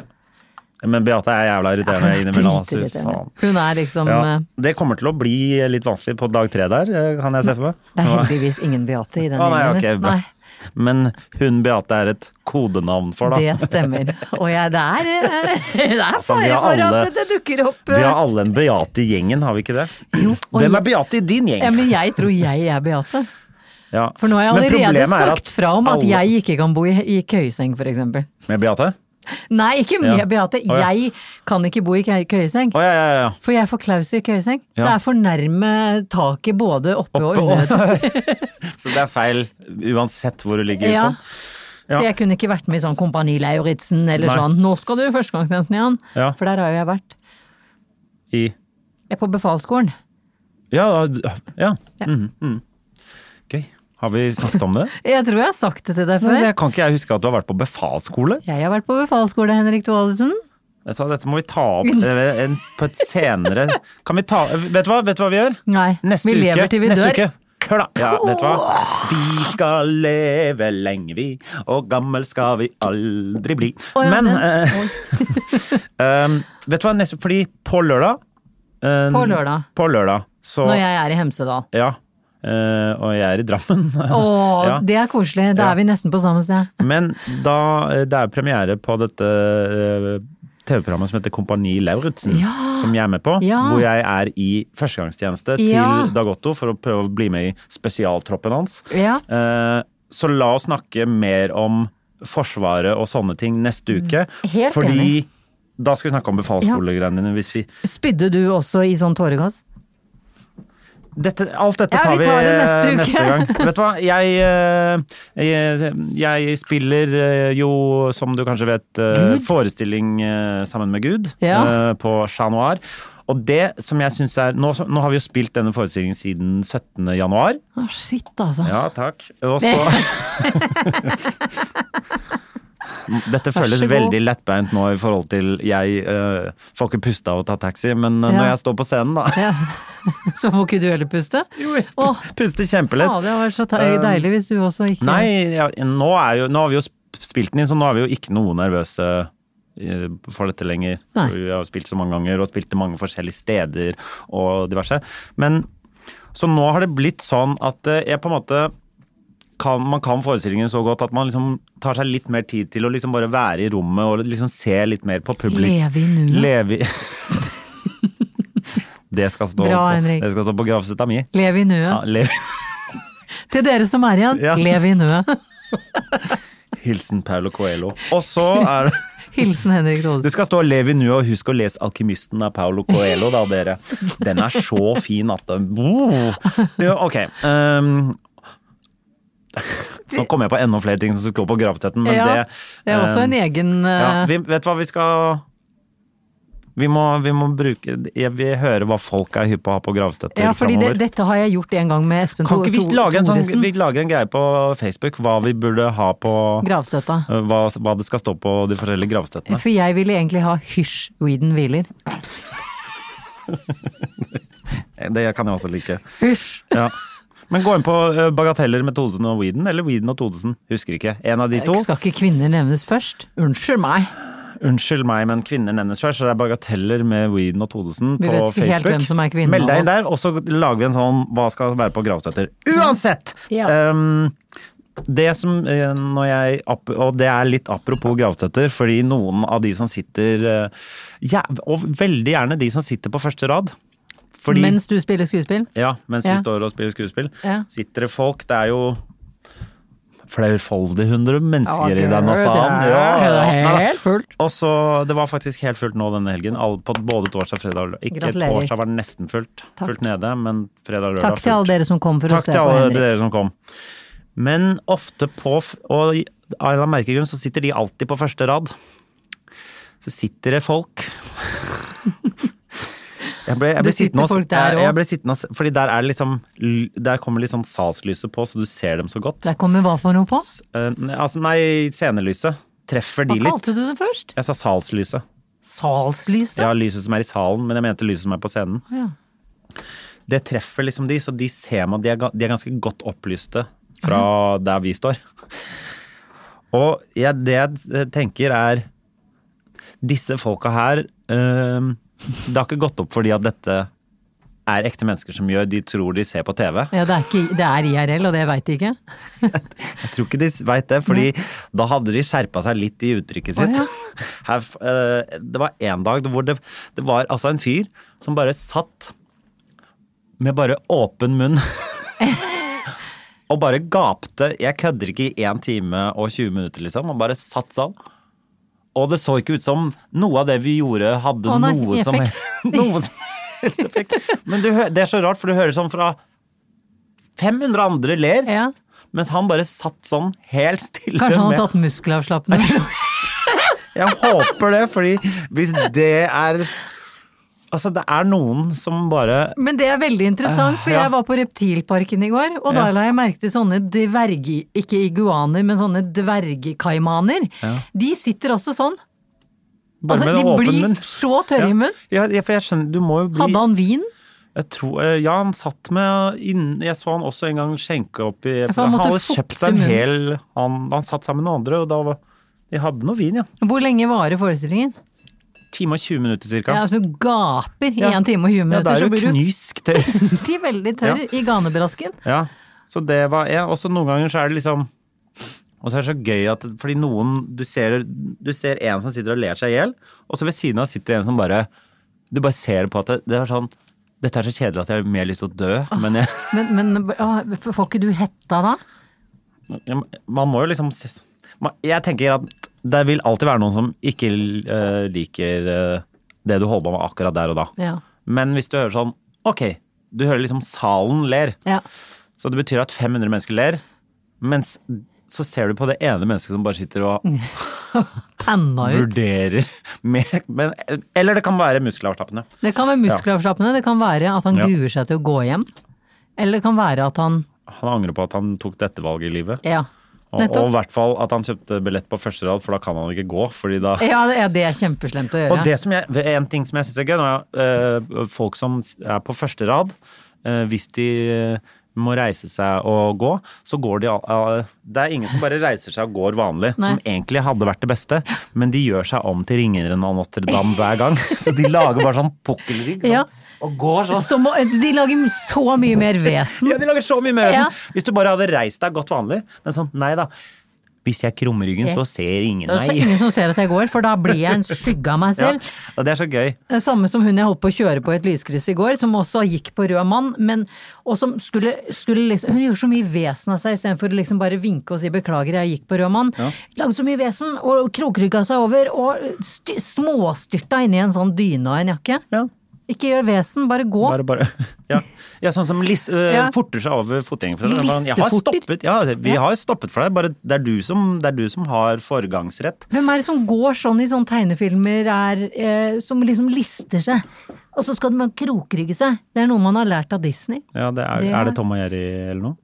Men Beate er jævla irriterende innimellom. Altså, faen. Hun er liksom Ja, eh, det kommer til å bli litt vanskelig på dag tre der, eh, kan jeg se for meg. Det er heldigvis ingen Beate i den Å Ah, nei, gjengen. ok, bra. Men hun Beate er et kodenavn for, da. Altså, det stemmer. Og jeg, det er, eh, det er vi fare har for alle- at det dukker opp Vi eh, har alle en Beate i gjengen, har vi ikke det? jo, og Hvem jeg- er Beate i din ja, gjeng? men jeg tror jeg er Beate. Ja. For nå har jeg Men allerede problemet er at sagt fra om at alle- jeg ikke kan bo i, i køyeseng, for eksempel. Med Beate? Nei, ikke med Ja. Beate. Å, ja. Jeg kan ikke bo i køy- køyeseng. Å ja, ja, ja. For jeg er for klaus i køyeseng. Ja. Det er for nærme taket både oppe, og Oppe og- under. dette. Så det er feil uansett hvor du ligger Ja. ute. Så jeg kunne ikke vært med i sånn Kompani Lauritzen eller Nei. sånn 'Nå skal du førstegangstjenesten igjen', Ja. for der har jo jeg vært. I Jeg er på befalsskolen. Ja, ja. ja. Mhm, mhm. Gøy. Har vi snakket om det? Jeg tror jeg har sagt det til deg Nei, før. det kan ikke jeg huske at du har vært på befalsskole. Jeg har vært på befalsskole, Henrik Thorvaldsen. Vet du hva, dette må vi ta opp eh, en- på et senere Kan vi ta Vet du hva, vet du hva vi gjør? Nei, Neste vi lever uke. til vi neste dør. Uke. Hør da. Ja, vet du hva? Vi skal leve lenge, vi, og gammel skal vi aldri bli. Å, ja, Men den- eh, um, Vet du hva, neste, fordi på lørdag eh, På lørdag. På lørdag. Så Når jeg er i Hemsedal. Ja. eh, og jeg er i Drammen. Å, Ja. det er koselig. Da Ja. er vi nesten på samme sted. Men da eh, Det er premiere på dette eh, TV-programmet som heter Kompani Lauritzen, Ja. som jeg er med på. Ja. Hvor jeg er i førstegangstjeneste Ja. til Dag Otto for å prøve å bli med i spesialtroppen hans. Ja. Eh, Så la oss snakke mer om Forsvaret og sånne ting neste uke. Mm. Helt fordi enig. da skal vi snakke om befalsskolegreiene dine. Hvis vi, Spydde du også i sånn tåregass? dette, alt dette Ja, tar vi vi, tar det eh, neste uke. gang. Vet du hva, jeg, eh, jeg, jeg spiller eh, jo, som du kanskje vet, eh, Gud. forestilling eh, sammen med Gud Ja. eh, på Chat Noir. Og det som jeg synes er nå, nå har vi jo spilt denne forestillingen siden 17. januar. Å, shit, altså. Ja, takk. Og så Dette Vær så føles god. veldig lettbeint nå i forhold til jeg eh, får ikke puste av å ta taxi, men eh, Ja. når jeg står på scenen, da Så får ikke du heller puste? Jo, Åh, Puster kjempelett. ja, det hadde vært så te- deilig hvis du også ikke Um, Nei, ja, nå, er jo, nå har vi jo sp- spilt den inn, så nå er vi jo ikke noe nervøse eh, for dette lenger. Nei. For Vi har jo spilt så mange ganger, og spilt i mange forskjellige steder og diverse. Men så nå har det blitt sånn at eh, jeg på en måte kan, man kan forestillingen så godt at man liksom tar seg litt mer tid til å liksom bare være i rommet og liksom se litt mer på publikum. Leve i nuet. Leve i Det skal stå Bra, på, Henrik. det skal stå på gravstøtta mi. Lev i nuet. Ja, lev. Til dere som er igjen, Ja. lev i nuet. Hilsen Paulo Coelho. Og så er det Hilsen Henrik Det Rodesen. skal stå 'Lev i nuet', og husk å lese 'Alkymisten' av Paulo Coelho, da, dere. Den er så fin at det Wow. Jo, Ok. ehm, så kom jeg på enda flere ting som skulle på gravstøtten, men Ja, det Det er også en ehm, egen ja, eh, vi, Vet du hva vi skal Vi må, vi må bruke Jeg vil høre hva folk er hypp på å ha på gravstøtter Ja, fordi det, framover. dette har jeg gjort en gang med Espen Kan ikke vi Thor- lage en, sånn, Thoresen. vi lager en greie på Facebook hva vi burde ha på Gravstøtta. eh, hva, hva det skal stå på de forskjellige gravstøttene? For jeg ville egentlig ha Hysj, Weeden hviler. Det kan jeg også like. Hysj! Ja. Men gå inn på eh, Bagateller med Todesen og Weeden, eller Weeden og Todesen. Husker ikke. En av de to. Skal ikke kvinner nevnes først? Unnskyld meg. Unnskyld meg, men kvinner nevnes først, så det er Bagateller med Weeden og Todesen Vi på vet ikke Facebook. helt hvem som er kvinnen Meld deg av inn der, og så lager vi en sånn hva skal være på gravstøtter. Uansett! Ja. ehm, det som eh, når jeg ap- Og det er litt apropos gravstøtter, fordi noen av de som sitter eh, ja, Og veldig gjerne de som sitter på første rad. Fordi Mens du spiller skuespill? Ja, mens Ja. vi står og spiller skuespill. Ja. Sitter det folk Det er jo flerfoldig hundre mennesker i denne det er- salen. det er nei da. helt fullt. Og så, Det var faktisk helt fullt nå denne helgen. all- På både torsdag og fredag. og lø- Ikke Gratulerer. torsdag var det nesten fullt. Takk. Fullt nede, men fredag og lørdag Takk til alle fullt. dere som kom for å Takk se til på alle Henrik. dere som kom. Men ofte på f- Og i- av en eller annen merkegrunn så sitter de alltid på første rad. Så sitter det folk Jeg ble, jeg ble Det sitter sittende og s- folk der jeg- også. jeg ble sittende og s- Fordi der er det liksom l- Der kommer litt sånn salslyset på, så du ser dem så godt. Der kommer hva for noe på? S- eh, ne- altså, nei, scenelyset. Treffer de Hva litt? kalte du det først? Jeg sa salslyset. Salslyset? Ja, lyset som er i salen, men jeg mente lyset som er på scenen. Ja. Det treffer liksom de, så de ser man, de er, ga- de er ganske godt opplyste fra der vi står. Og jeg, det jeg tenker er Disse folka her øhm, Det har ikke gått opp for de at dette er ekte mennesker som gjør. De tror de ser på TV. Ja, det er, ikke, det er IRL, og det veit de ikke. Jeg tror ikke de veit det, fordi da hadde de skjerpa seg litt i uttrykket sitt. Å, Her, f- eh, det var en dag hvor det, det var altså en fyr som bare satt med bare åpen munn. og bare gapte. Jeg kødder ikke i 1 time og 20 minutter, liksom. Han bare satt sånn. Og det så ikke ut som noe av det vi gjorde hadde Å, nei, noe, som, effekt. noe som helst effekt. Men du, hø- det er så rart, for du hører sånn fra 500 andre ler. Ja. Mens han bare satt sånn helt stille Kanskje han har med tatt muskelavslappende? Jeg håper det, fordi hvis det er Altså, det er noen som bare Men det er veldig interessant, for Eh, ja. jeg var på Reptilparken i går, og da Ja. la jeg merke til sånne dverg... Ikke iguaner, men sånne dvergkaimaner. De sitter også sånn. Bare Altså, med de åpen blir munn. så tørre i munnen. Ja, ja, for jeg skjønner, du må jo bli Hadde han vin? jeg tror, eh, Ja, han satt med inn- Jeg så han også en gang skjenke opp i for han måtte hadde fukte kjøpt seg en munnen. hel han, han satt sammen med noen andre, og da var De hadde noe vin, ja. Hvor lenge varer forestillingen? Time og 20 minutter cirka. Ja, altså, du gaper i Ja. én time og 20 Ja, da minutter, er så du blir du knysk til veldig, veldig tørr i ganebrasken. Ja. Så det var ja. Også noen ganger så er det liksom Og så er det så gøy at Fordi noen Du ser, du ser en som sitter og ler seg i hjel, og så ved siden av sitter det en som bare Du bare ser det på at det, det er sånn Dette er så kjedelig at jeg har mer lyst til å dø, men jeg Men, men å, får ikke du hetta da? Ja, Man må jo liksom s- man- Jeg tenker at det vil alltid være noen som ikke eh, liker eh, det du holder på med akkurat der og da. Ja. Men hvis du hører sånn Ok, du hører liksom salen ler. ja. Så det betyr at 500 mennesker ler, mens så ser du på det ene mennesket som bare sitter og Panna ut. vurderer med men, Eller det kan være muskelavslappende. Det kan være muskelavslappende, det kan være at han Ja. gruer seg til å gå hjem. Eller det kan være at han Han angrer på at han tok dette valget i livet. Ja. Og, og Nettopp. i hvert fall at han kjøpte billett på første rad, for da kan han ikke gå. Fordi da Ja, det er, det er kjempeslemt å Og gjøre. det som jeg, en ting som jeg syns er gøy, nå er eh, folk som er på første rad, eh, hvis de eh, må reise seg og gå, så går de al- al- Det er ingen som bare reiser seg og går vanlig, Nei. som egentlig hadde vært det beste, men de gjør seg om til ringeren av Notre-Dame hver gang. Så de lager bare sånn pukkelrygg sånn, Ja. og går sånn. Så må, de lager så mye mer vesen. Ja, de lager så mye mer. Ja. Hvis du bare hadde reist deg godt vanlig, men sånn, nei da. Hvis jeg krummer ryggen, Ja. så ser ingen Det er også meg. ingen som ser at jeg går, for da blir jeg en skygge av meg Ja, selv. og det er så gøy. Det samme som hun jeg holdt på å kjøre på i et lyskryss i går, som også gikk på rød mann, men, og som skulle, skulle liksom Hun gjorde så mye vesen av seg istedenfor å liksom bare vinke og si 'beklager, jeg gikk på rød mann'. Lagde så mye vesen, og krokrygga seg over, og sty, småstyrta inni en sånn dyne og en jakke. Ja. Ikke gjør vesen, bare gå. Bare, bare. Ja. ja, sånn som list, øh, Ja. forter seg over fotgjengere. Bare, Jeg har Listeforter. stoppet, ja, vi Ja. har stoppet for deg, bare det er du som, det er du som har forgangsrett. Hvem er det som går sånn i sånne tegnefilmer, er, eh, som liksom lister seg? Og så skal man krokrygge seg. Det er noe man har lært av Disney. Ja, det er, Det er- er det Tom og Jerry eller noe?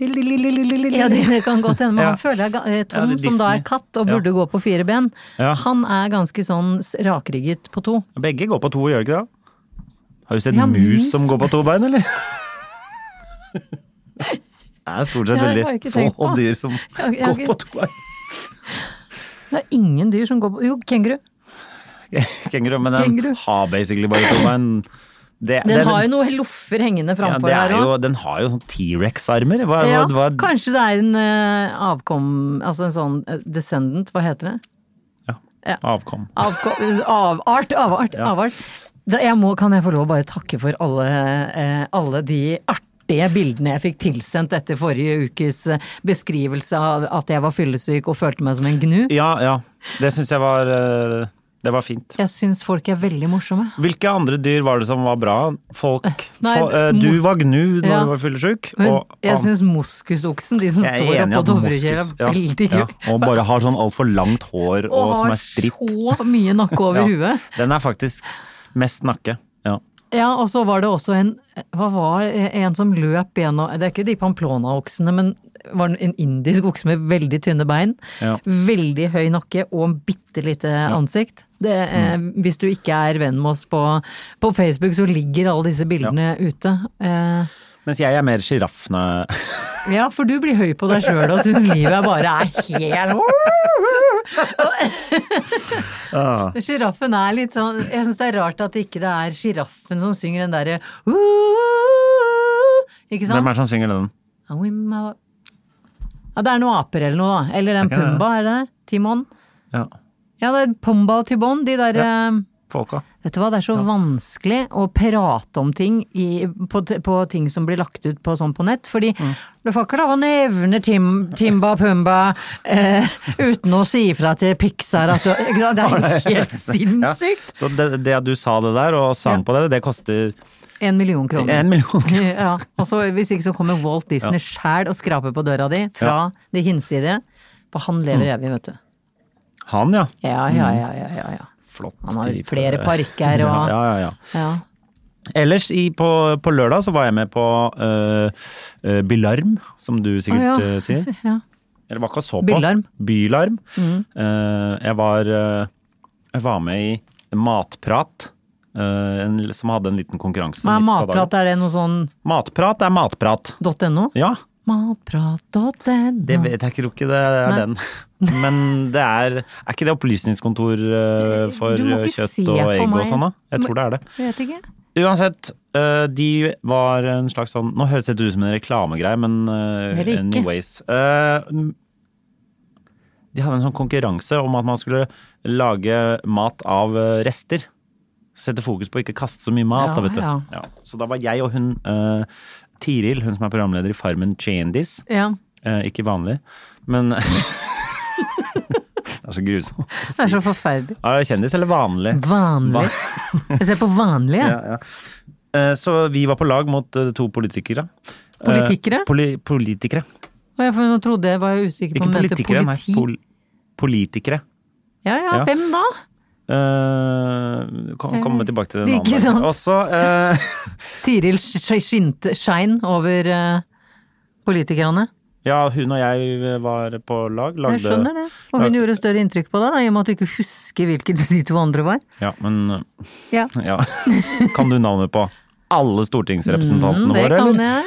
Ja, det, det kan godt hende. Men Ja. han føler jeg ga- eh, Tom, Ja, det er som da er Disney. katt og Ja. burde gå på fire ben, Ja. han er ganske sånn s- rakrygget på to. Begge går på to, gjør de ikke det? Har du sett Ja, mus, mus. som går på to bein, eller? Det er stort sett Ja, det har jeg veldig ikke tenkt få på. dyr som Ja, ja, går ok. på to bein. Det er ingen dyr som går på Jo, kenguru. Kenguru, men den Kenguru. har basically bare to bein. Det- Den har jo noen loffer hengende ja, framfor det er her jo, òg. Den har jo sånn T-rex-armer. Hva, Ja, hva, hva, kanskje det er en eh, avkom... Altså en sånn eh, descendant, hva heter det? Ja. Avkom. Avko- Avart, avart, avart. Da jeg må, kan jeg få lov å bare takke for alle, eh, alle de artige bildene jeg fikk tilsendt etter forrige ukes eh, beskrivelse av at jeg var fyllesyk og følte meg som en gnu. Ja, ja. Det syns jeg var eh, Det var fint. Jeg syns folk er veldig morsomme. Hvilke andre dyr var det som var bra? Folk Nei, fol- eh, Du var gnu når Ja. du var fyllesyk. Men og jeg an- syns moskusoksen, de som jeg er står enig i oppå at Dovrekjell, moskus- er veldig gøy. ja, Og bare har sånn altfor langt hår og, Og som har er stritt. så mye nakke over Ja. huet. Den er faktisk mest nakke. Ja. Ja, og så var det også en Hva var det? en som løp gjennom Det er ikke de Pamplona-oksene, men var en indisk okse med veldig tynne bein. Ja. Veldig høy nakke og en bitte lite ansikt. Det, eh, Mm. Hvis du ikke er venn med oss på, på Facebook, så ligger alle disse bildene ute. Eh, Mens jeg er mer sjiraff. når- ja, for du blir høy på deg sjøl og syns livet bare er helt Ah. Sjiraffen er litt sånn Jeg syns det er rart at ikke det er sjiraffen som synger den derre Ikke sant? Hvem er det som synger den? And we ma- Ja, det er noen aper eller noe, da. Eller den Er ikke det? Pumba, er det det? Timon? Ja. Ja, det er Pumba og Tibon, de der eh, Folka. Vet du hva, det er så vanskelig å prate om ting i, på, t- på ting som blir lagt ut på sånn på nett, fordi Mm. du får ikke lov å nevne Tim, Timba Pumba eh, uten å si ifra til Pixar at du ikke sant? Det er jo helt sinnssykt! Så det, det at du sa det der og sang Ja. på det, det koster En million kroner. en million kroner. ja, og så Hvis ikke så kommer Walt Disney sjæl og skraper på døra di fra det hinsidige. For han lever Mm. evig, vet du. Han, ja. Ja, ja, Mm. ja, ja, ja, ja. Flott Han har type. flere parker Ja, og ja, ja, ja. ja. Ellers i, på, på lørdag så var jeg med på øh, øh, Bilarm, som du sikkert Å, ja. øh, sier. ja. Eller var ikke og så på. Bylarm. Bylarm. Eh, jeg var øh, var med i Matprat, eh, en, som hadde en liten konkurranse. Hva er midt på matprat, dagen. er det noe sånn Matprat er matprat. .no? Ja. Matprat.no. Det vet jeg ikke, tror ikke det er Nei. den. Men det er Er ikke det opplysningskontor eh, for Du må ikke kjøtt se og på egg og meg. sånn, da? Jeg tror det er det. Jeg vet ikke. Uansett, eh, de var en slags sånn Nå høres det ut som en reklamegreie, men eh, Det er det ikke. anyways. Eh, m- De hadde en sånn konkurranse om at man skulle lage mat av eh, rester. Sette fokus på å ikke kaste så mye mat, Ja, da, vet du. ja. Ja. Så da var jeg og hun eh, Tiril, hun som er programleder i Farmen Chandis, Ja. eh, ikke vanlig, men Det er så grusomt. Det er så forferdelig. Er det kjendis eller vanlig? Vanlig. Jeg ser på vanlige. ja, ja. Eh, Så vi var på lag mot eh, to politikere. Eh, Politikere? Poli politikere. Og jeg for- nå trodde jeg var jeg usikker på Ikke om det heter politikere, nei. politi. Pol politikere. Ja, ja, Ja. hvem da? Uh, kom, komme tilbake til det Det er en annen ikke dag. sant. Og så eh, Tiril sk- skinte Schein over eh, politikerne. Ja, hun og jeg var på lag. Lagde Jeg skjønner det. Og hun lagde- gjorde større inntrykk på deg, da, i og med at du ikke husker hvilke de to andre var. Mm, Ja, men eh, Ja, ja. Kan du navnet på alle stortingsrepresentantene Mm, det våre, kan eller? jeg.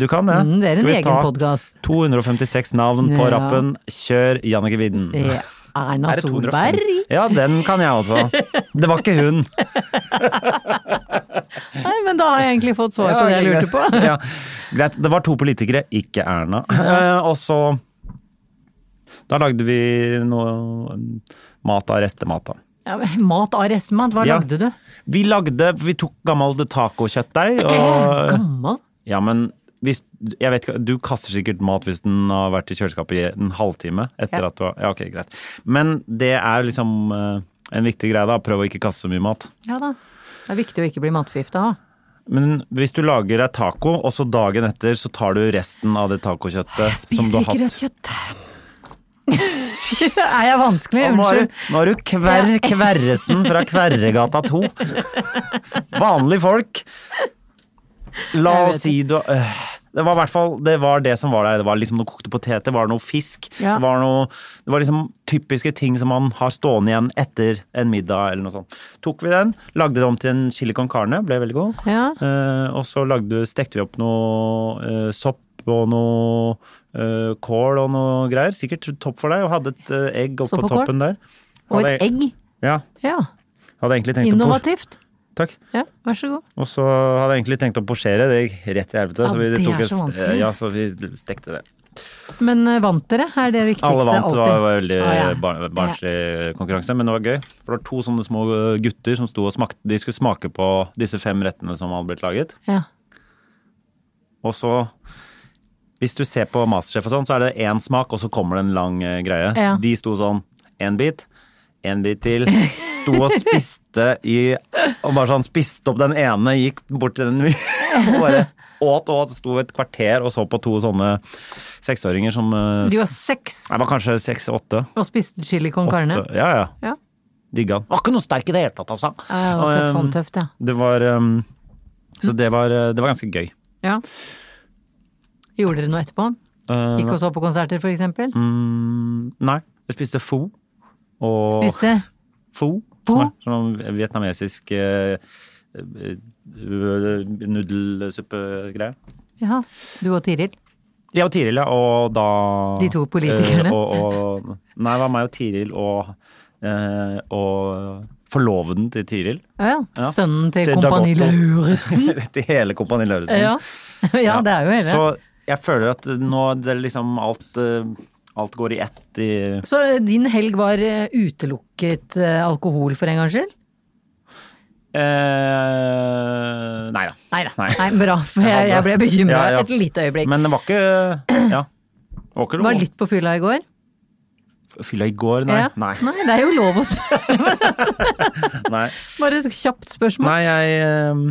Du kan det. Mm, det er Skal en vi ta egen podkast. 256 navn på Ja. rappen. Kjør Jannicke Widden. Erna Er det 205? Solberg? Ja, den kan jeg altså. Det var ikke hun. Nei, men da har jeg egentlig fått svar på det jeg lurte på. ja. Greit, det var to politikere, ikke Erna. Eh, og så Da lagde vi noe mat av restemat, da. Ja, men mat av restmat, hva Ja. lagde du? Vi lagde Vi tok gammelt tacokjøttdeig og Gammel? Ja, men hvis Jeg vet ikke, du kaster sikkert mat hvis den har vært i kjøleskapet i en halvtime etter Ja. at du har Ja, ok, greit. Men det er liksom eh, en viktig greie, da. Prøv å ikke kaste så mye mat. Ja da. Det er viktig å ikke bli matforgifta. Men hvis du lager deg taco, og så dagen etter så tar du resten av det tacokjøttet som du har hatt kjøtt. er jeg vanskelig? Og nå er Unnskyld. du, nå er du Kverr Kverresen fra Kverregata 2. Vanlige folk. La Jeg vet oss si du øh, Det var i hvert fall det, var det som var der. Det var liksom noen kokte poteter, var det noe fisk. Ja. Det, var noe, det var liksom typiske ting som man har stående igjen etter en middag eller noe sånt. Tok vi den, lagde det om til en chili con carne, ble veldig god. Ja. Eh, og så lagde, stekte vi opp noe eh, sopp og noe eh, kål og noe greier. Sikkert topp for deg. Og hadde et eh, egg Sopp oppå og kål? toppen der. Og Hadde et jeg- egg. Ja. Ja. Hadde egentlig tenkt å por- Innovativt. Takk. Ja, vær så god. Og så hadde jeg egentlig tenkt å posjere, det gikk rett i helvete. Ja, så vi det tok er et så st- vanskelig. Ja, så vi stekte det. Men eh, vant dere, er det viktigste Alle vant, det alltid. var var veldig Ah, ja. bar barnslig konkurranse, men det var gøy. For det var to sånne små gutter som sto og smakte, de skulle smake på disse fem rettene som hadde blitt laget. Ja. Og så Hvis du ser på Masterchef og sånn, så er det én smak, og så kommer det en lang eh, greie. Ja. De sto sånn én bit, én bit til. Sto og spiste i Og bare sånn spiste opp den ene, gikk bort til den og bare åt og åt. Sto et kvarter og så på to sånne seksåringer som eh, De var seks Nei, det var kanskje seks-åtte. og spiste chili con carne. Ja, ja. Ja. Digga den. Var ikke noe sterk i det hele tatt, altså. Ja, det var Og, tøft, sånn eh, tøft, ja. Det var eh, Så det var, eh, det var ganske gøy. ja. Gjorde dere noe etterpå? Eh, Gikk og så på konserter, for eksempel? Mm, nei, jeg spiste pho. Og Spiste pho? Pho? Som er Sånn vietnamesisk eh, eh, eh, nudelsuppegreier. Ja, du og Tiril. Jeg og Tiril, ja. Og da De to politikerne. eh, og, og, nei, det var meg og Tiril og, eh, og forloveden til Tiril. Ja, ja. Ja. Sønnen til, Til Kompani Dag Otto. Lauritzen. til hele Kompani Lauritzen. Ja. ja, det er jo hele. Så, Så jeg føler at nå det er liksom alt eh, Alt går i ett i eh, din helg var eh, utelukket eh, alkohol for en gangs skyld? eh, Nei da. Nei da. Nei. Nei, bra, for jeg, jeg ble bekymra Ja, ja. et lite øyeblikk. Men det var ikke Ja. Det var ikke var litt på fylla i går? Fylla i går, nei. Ja. Nei. Nei, det er jo lov å spørre. Nei, Bare et kjapt spørsmål. nei jeg ehm,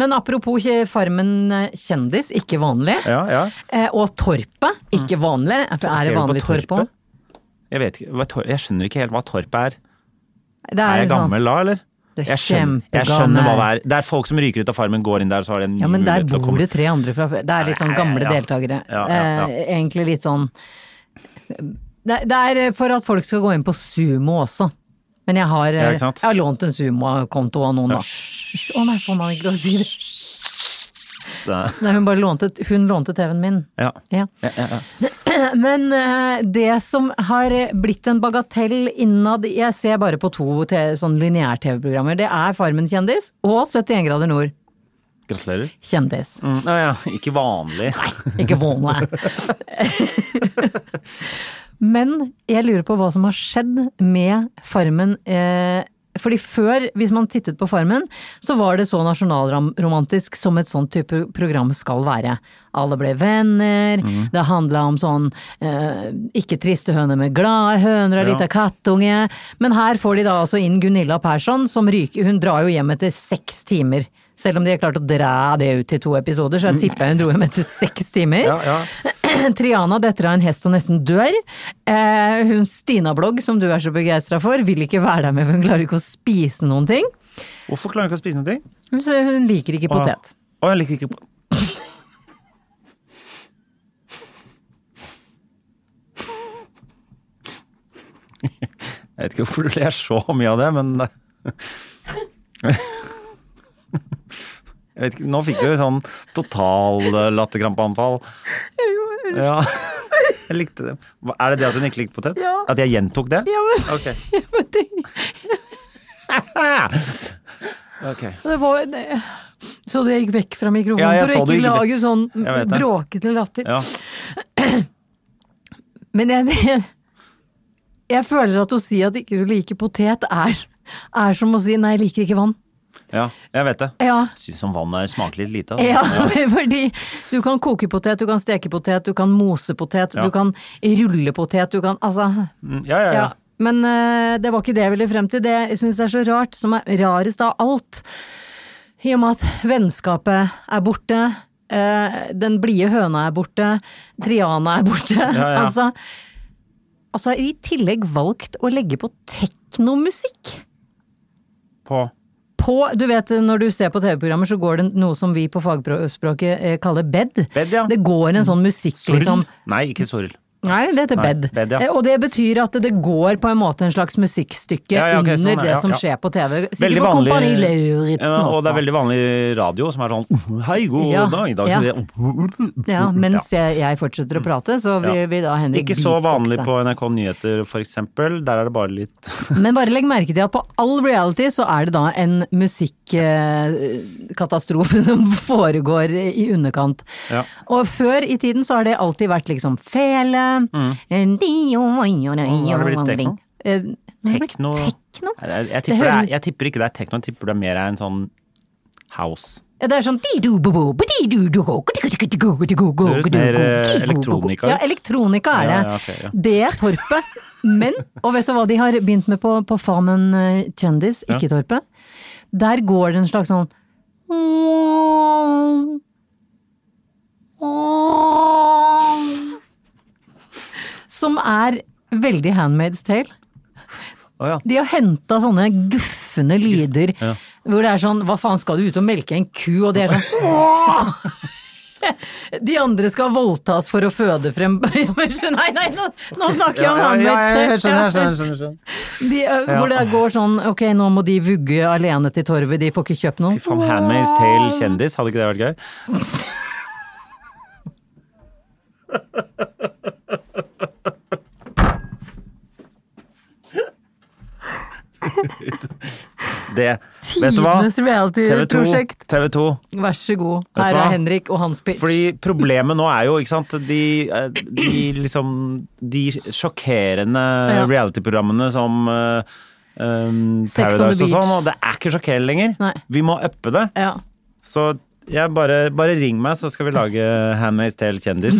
Men apropos ikke Farmen eh, kjendis, ikke vanlig. Ja, ja. Eh, Og Torpet, ikke vanlig. Er Mm. Ser det du på vanlig Torp torpet? òg? Jeg vet ikke hva tor jeg skjønner ikke helt hva torpet er. Det Er jeg sånn- gammel da, eller? Du er Jeg skjønner, jeg skjønner hva det kjempegammel. er. Det er folk som ryker ut av farmen, går inn der, så har de en ny Ja, men der mulighet til å bor komme det tre andre fra før. Det er litt sånn Nei, gamle ja. deltakere. Ja, ja, ja. Eh, egentlig eh, litt sånn det, det er for at folk skal gå inn på sumo også. Men jeg har, Ja, eh, ikke sant? jeg har lånt en Sumo-konto av noen, da. Å nei, får man ikke lov å si det? Så, Nei, hun bare lånte, hun lånte TV-en min. ja. Ja. Ja, ja, ja. Men eh, det som har blitt en bagatell innad Jeg ser bare på to te- sånn lineær-TV-programmer. Det er Farmen kjendis og 71 grader nord Gratulerer. kjendis. Mm, ja, ja. Ikke vanlig. Ikke våne. Men jeg lurer på hva som har skjedd med Farmen. Eh, fordi før, hvis man tittet på Farmen, så var det så nasjonalromantisk som et sånt type program skal være. Alle ble venner, Mhm. det handla om sånn eh, ikke triste høner med glade høner og Ja. lita kattunge. Men her får de da altså inn Gunilla Persson, som ryker Hun drar jo hjem etter seks timer. Selv om de har klart å dra det ut til to episoder, så jeg tipper hun dro hjem etter seks timer. Mm. Ja, ja. Triana detter av en hest og nesten dør. Eh, hun Stina Blogg, som du er så begeistra for, vil ikke være der med, for hun klarer ikke å spise noen ting. Hvorfor klarer hun ikke å spise noe? ting? Så hun liker ikke potet. Å, jeg liker ikke po- Jeg vet ikke hvorfor du ler så mye av det, men det- jeg vet ikke, Nå fikk du sånn total eh, latterkrampeanfall. Ja, jeg likte det. Hva- Er det det at hun ikke likte potet? Ja. At jeg gjentok det? Ok. Ja, men, men det, Ok. det var det. Så du jeg gikk vekk fra mikrofonen Ja, jeg for å så du ikke gikk vekk. lage sånn Jeg vet det. bråkete latter? Ja. Men jeg, jeg, jeg føler at å si at ikke du liker potet, er, er som å si nei, jeg liker ikke vann. ja, jeg vet det. Ja. Syns som vannet smaker litt lite. altså. Ja, fordi du kan koke potet, du kan steke potet, du kan mose potet, Ja. du kan rulle potet, du kan altså Mm, ja, ja, ja. ja. Men eh, det var ikke det jeg ville frem til. Det jeg syns er så rart, som er rarest av alt, i og med at vennskapet er borte, eh, den blide høna er borte, Triana er borte. ja. Altså, altså har i tillegg valgt å legge på teknomusikk På på Du vet når du ser på TV-programmer, så går det noe som vi på fagspråket eh, kaller bed. Bed, ja. Det går en sånn musikk, Sorrel? liksom. Nei, ikke sorrel. Nei, det heter Nei, bed. bed, ja. Eh, Og det betyr at det går på en måte en slags musikkstykke Ja, ja, ok, sånn, under ja, det ja, som ja. skjer på TV. Sikkert på Kompani Lauritzen ja, også. og det er veldig vanlig radio som er sånn Hei, god Ja, dag, i dag skal ja. vi Ja, mens Jeg, jeg fortsetter å prate, så vil, Mm, Ja. vil da Henrik Ikke så vanlig beatboxe. på NRK Nyheter, for eksempel. Der er det bare litt Men bare legg merke til at på all reality så er det da en musikkatastrofe som foregår i underkant. Ja. Og før i tiden så har det alltid vært liksom fele eh, Har Har Mm. det blitt techno? Eh, tekno. Tekno? Nei, Jeg, jeg, tipper det hører- er, jeg tipper ikke det er tekno, jeg tipper det er mer er en sånn house. Ja, Det er sånn Det høres mer, eh, elektronika ut. Ja, elektronika er det. Ja, ja, ok, ja. Det er Torpet. Men, og vet du hva de har begynt med på, på Farmen eh, kjendis, ikke Torpet? Der går det en slags sånn Som er veldig Handmaid's Tale. Å ja. De har henta sånne guffende lyder hvor det er sånn Hva faen, skal du ut og melke en ku? Og det er sånn De andre skal voldtas for å føde frem Ja, men skjønner- Nei, nei, nå, nå snakker jeg om Handmaid's Tale. De, eh, Hvor det går sånn Ok, nå må de vugge alene til torvet, de får ikke kjøpt noen. Faen, Handmaid's Tale kjendis, hadde ikke det vært gøy? Det Vet du hva? Tidenes TV2, reality-prosjekt. TV2. Vær så god. Vet Her du hva? er Henrik og hans pitch. Fordi problemet nå er jo, ikke sant De, eh, de liksom De sjokkerende Ja. reality-programmene som eh, um, Sex on the Paradise og sånn, Beach. og det er ikke sjokkerende lenger. Nei. Vi må uppe det. ja. Så jeg bare, bare ring meg, så skal vi lage Handmaid's Tale kjendis.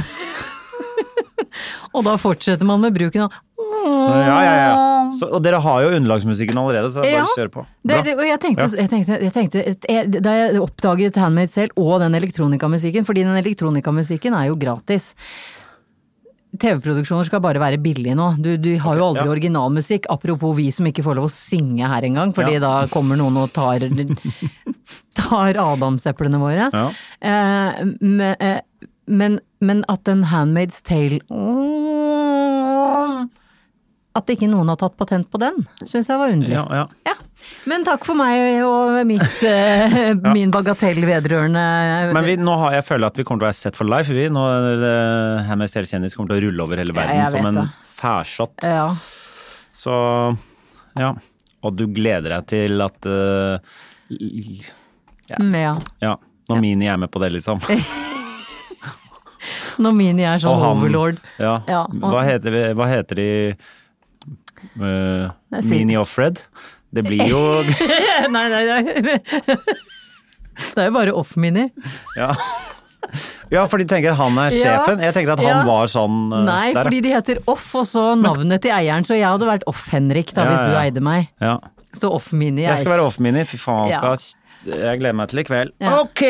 Og da fortsetter man med bruken av Ja, ja, ja. Så, og dere har jo underlagsmusikken allerede, så bare Ja. kjør på. Det, Bra. det, og jeg tenkte, jeg tenkte, jeg tenkte et- jeg, Da jeg oppdaget Handmade selv og den elektronikamusikken, fordi den elektronikamusikken er jo gratis. TV-produksjoner skal bare være billige nå. Du, du har jo aldri ja. originalmusikk. Apropos vi som ikke får lov å synge her engang, fordi Ja. da kommer noen og tar, tar adamseplene våre. Ja. Eh, men, eh, men, men at en Handmaid's Tale At ikke noen har tatt patent på den, syns jeg var underlig. Ja, ja. Ja. Men takk for meg og mitt, eh, min bagatell vedrørende eh, Men vi, nå har jeg føler at vi kommer til å være set for life. Vi. Nå er det Handmaid's Tale kjendis kommer til å rulle over hele verden jeg som vet en det. færshot. Ja. Så ja. Og du gleder deg til at eh, l- Mm, ja. Ja, når Mini er med på det, liksom. Når Mini er sånn Og han- overlord. Ja. Ja, og- Hva, heter, vi- hva heter de eh, Jeg sier- Mini og Fred? Det blir jo nei, nei, nei. Det er jo bare off-mini. Ja. Ja, for de tenker han er Ja. sjefen. Jeg tenker at Ja. han var sånn eh, Nei, der, fordi de heter Off, og så navnet til eieren. Så jeg hadde vært Off-Henrik da, Ja, hvis ja, du ja. eide meg. ja. Så Off-mini er Jeg skal være off-mini. Fy faen, Ja. han skal Jeg gleder meg til i kveld. Ja. Ok!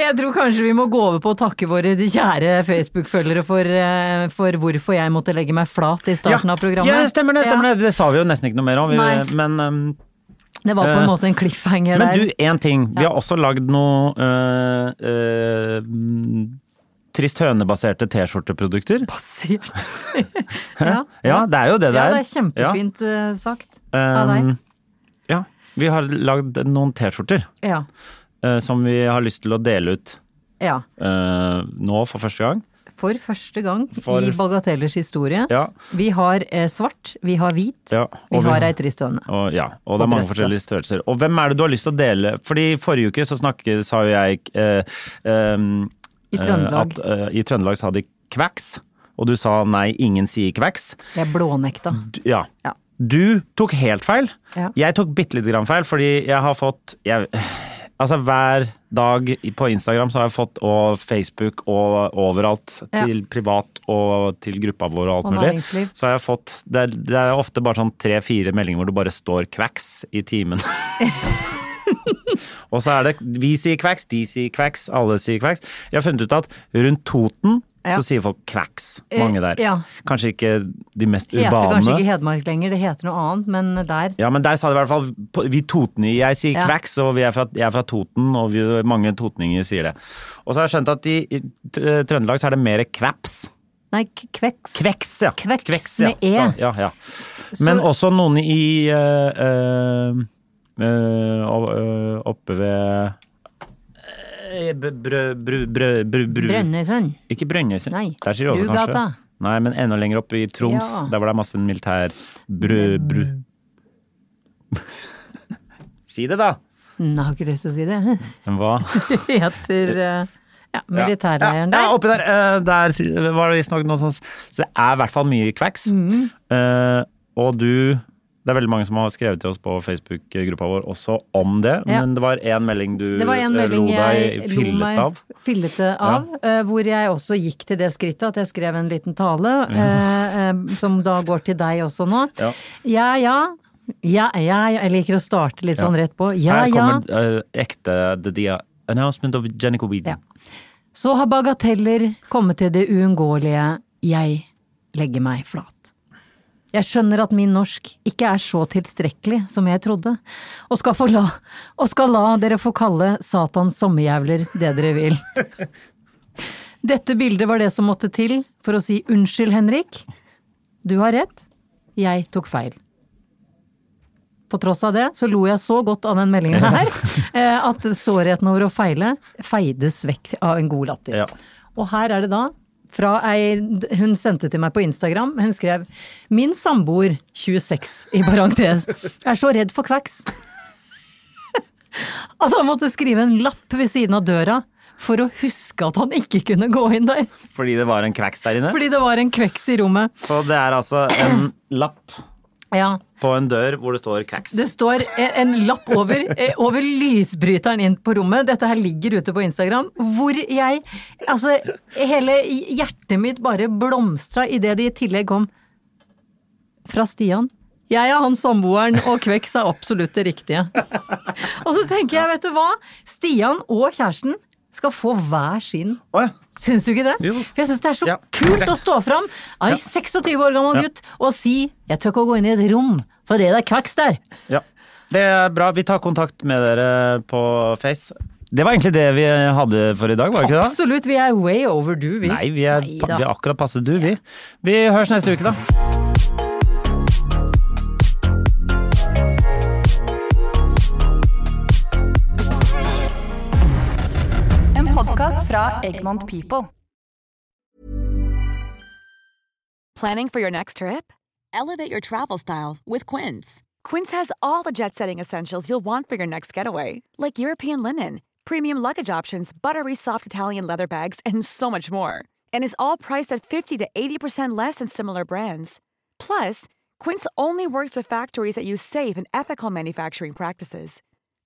Jeg tror kanskje vi må gå over på å takke våre kjære Facebook-følgere for, eh, for hvorfor jeg måtte legge meg flat i starten av programmet. Ja, stemmer det. stemmer Det Det sa vi jo nesten ikke noe mer om. Nei. Vi, men um, Ja, det var på Eh, en måte en cliffhanger Men der. du, én ting. Vi har også lagd noe eh, eh, mm, Trist høne-baserte T-skjorteprodukter. Passert. ja. Ja, det er jo det det ja, er. det er kjempefint eh, sagt Um, av deg. Ja. Vi har lagd noen T-skjorter Ja. eh, som vi har lyst til å dele ut ja. eh, nå for første gang. For første gang For- i Bagatellers historie. Ja. Vi har eh, svart, vi har hvit, Ja, vi og vi- har ei trist høne. Og, ja, og Og det er mange brøstet. forskjellige størrelser. Og hvem er det du har lyst til å dele? Fordi forrige uke så snakket, sa jo jeg eh, ehm, I Trøndelag. eh, At, eh, I Trøndelag sa de kveks, og du sa nei, ingen sier kveks. Jeg blånekta. Du, ja. Ja. Du tok helt feil. Ja. Jeg tok bitte lite grann feil, fordi jeg har fått jeg, Altså hver dag i- på Instagram så har jeg fått, og Facebook og overalt, Ja. til privat og til gruppa vår og alt Og mulig, næringsliv. så har jeg fått Det er, det er ofte bare sånn tre-fire meldinger hvor det bare står 'kveks' i timen. og så er det Vi sier kveks, de sier kveks, alle sier kveks. Jeg har funnet ut at rundt Toten Ja. så sier folk kveks, Eh, mange der. ja. Kanskje ikke de mest Det heter kanskje ikke urbane. Hedmark lenger, det heter noe annet, men der. Ja, men der sa de i hvert fall på- Vi totninger, jeg sier Ja. kveks, og vi er fra, jeg er fra Toten, og vi, mange totninger sier det. Og så har jeg skjønt at i, i T- Trøndelag så er det mer kvaps. Nei, k- kveks. Kveks, ja. Kveks ja. med e. Sånn, ja, ja. Men også noen i eh, eh, eh, o- eh, Oppe ved eh, b- brø, brø, brø, brø, brø. Brønnøysund. Ikke Brønnøysund. Nei, Der sier de også Brugata. kanskje. Nei, men enda lenger oppe i Troms. Ja. Der hvor det er masse militær brø... brø. si det, da! Nei, Mm, jeg har ikke lyst til å si det. Men hva? Det heter eh, ja, Ja. militærleiren ja, ja, der. oppi der. eh, der var det visstnok noe sånt. Så det er i hvert fall mye kveks. Mm. Eh, og du Det er veldig mange som har skrevet til oss på Facebook-gruppa vår også om det, Ja. men det var én melding du Det var en eh, melding lo deg jeg lo fyllet meg av. fillete av, eh, hvor jeg også gikk til det skrittet at jeg skrev en liten tale, eh, eh, som da går til deg også nå. Ja. ja. ja. Ja, ja, jeg liker å starte litt sånn rett på. Ja, Her ja. kommer eh, ekte The Dia Announcement of Jennifer Weeden. Ja. Så har bagateller kommet til det uunngåelige. Jeg legger meg flat. Jeg skjønner at min norsk ikke er så tilstrekkelig som jeg trodde, og skal, få la, og skal la dere få kalle Satans sommerjævler det dere vil. Dette bildet var det som måtte til for å si unnskyld, Henrik. Du har rett. Jeg tok feil. På tross av det så lo jeg så godt av den meldingen her eh, at sårheten over å feile feides vekk av en god latter. Ja. Og her er det da fra ei Hun sendte til meg på Instagram. Hun skrev 'Min samboer, 26, i parentes, er så redd for kveks' at han måtte skrive en lapp ved siden av døra for å huske at han ikke kunne gå inn der. Fordi det var en kveks der inne. Fordi det var en kveks i rommet. Så det er altså en lapp Ja, på en dør hvor det står kveks. Det står en- en lapp over, eh, over lysbryteren inn på rommet. Dette her ligger ute på Instagram. Hvor jeg Altså, hele hjertet mitt bare blomstra idet det i tillegg kom fra Stian. Jeg er han samboeren, og Kveks er absolutt det riktige. Og så tenker jeg, vet du hva? Stian og kjæresten skal få hver sin Å ja. Syns du ikke det? Jo. For jeg syns det er så Ja. kult å stå fram av en 26 år gammel Ja. gutt og si 'jeg tør ikke å gå inn i et rom, for det er kveks der'. Ja. Det er bra. Vi tar kontakt med dere på Face. Det var egentlig det vi hadde for i dag, var det ikke det? Absolutt, vi er way overdue, vi. Nei, vi er, Neida. vi er akkurat passe du, vi. Vi høres neste uke, da. En podkast fra Egmont People. Planning for your next trip? Elevate your travel style with Quince. Quince has all the jet setting essentials you'll want for your next getaway, like European linen, premium luggage options, buttery soft Italian leather bags, and so much more. And is all priced at 50 to 80% less than similar brands. Plus, Quince only works with factories that use safe and ethical manufacturing practices.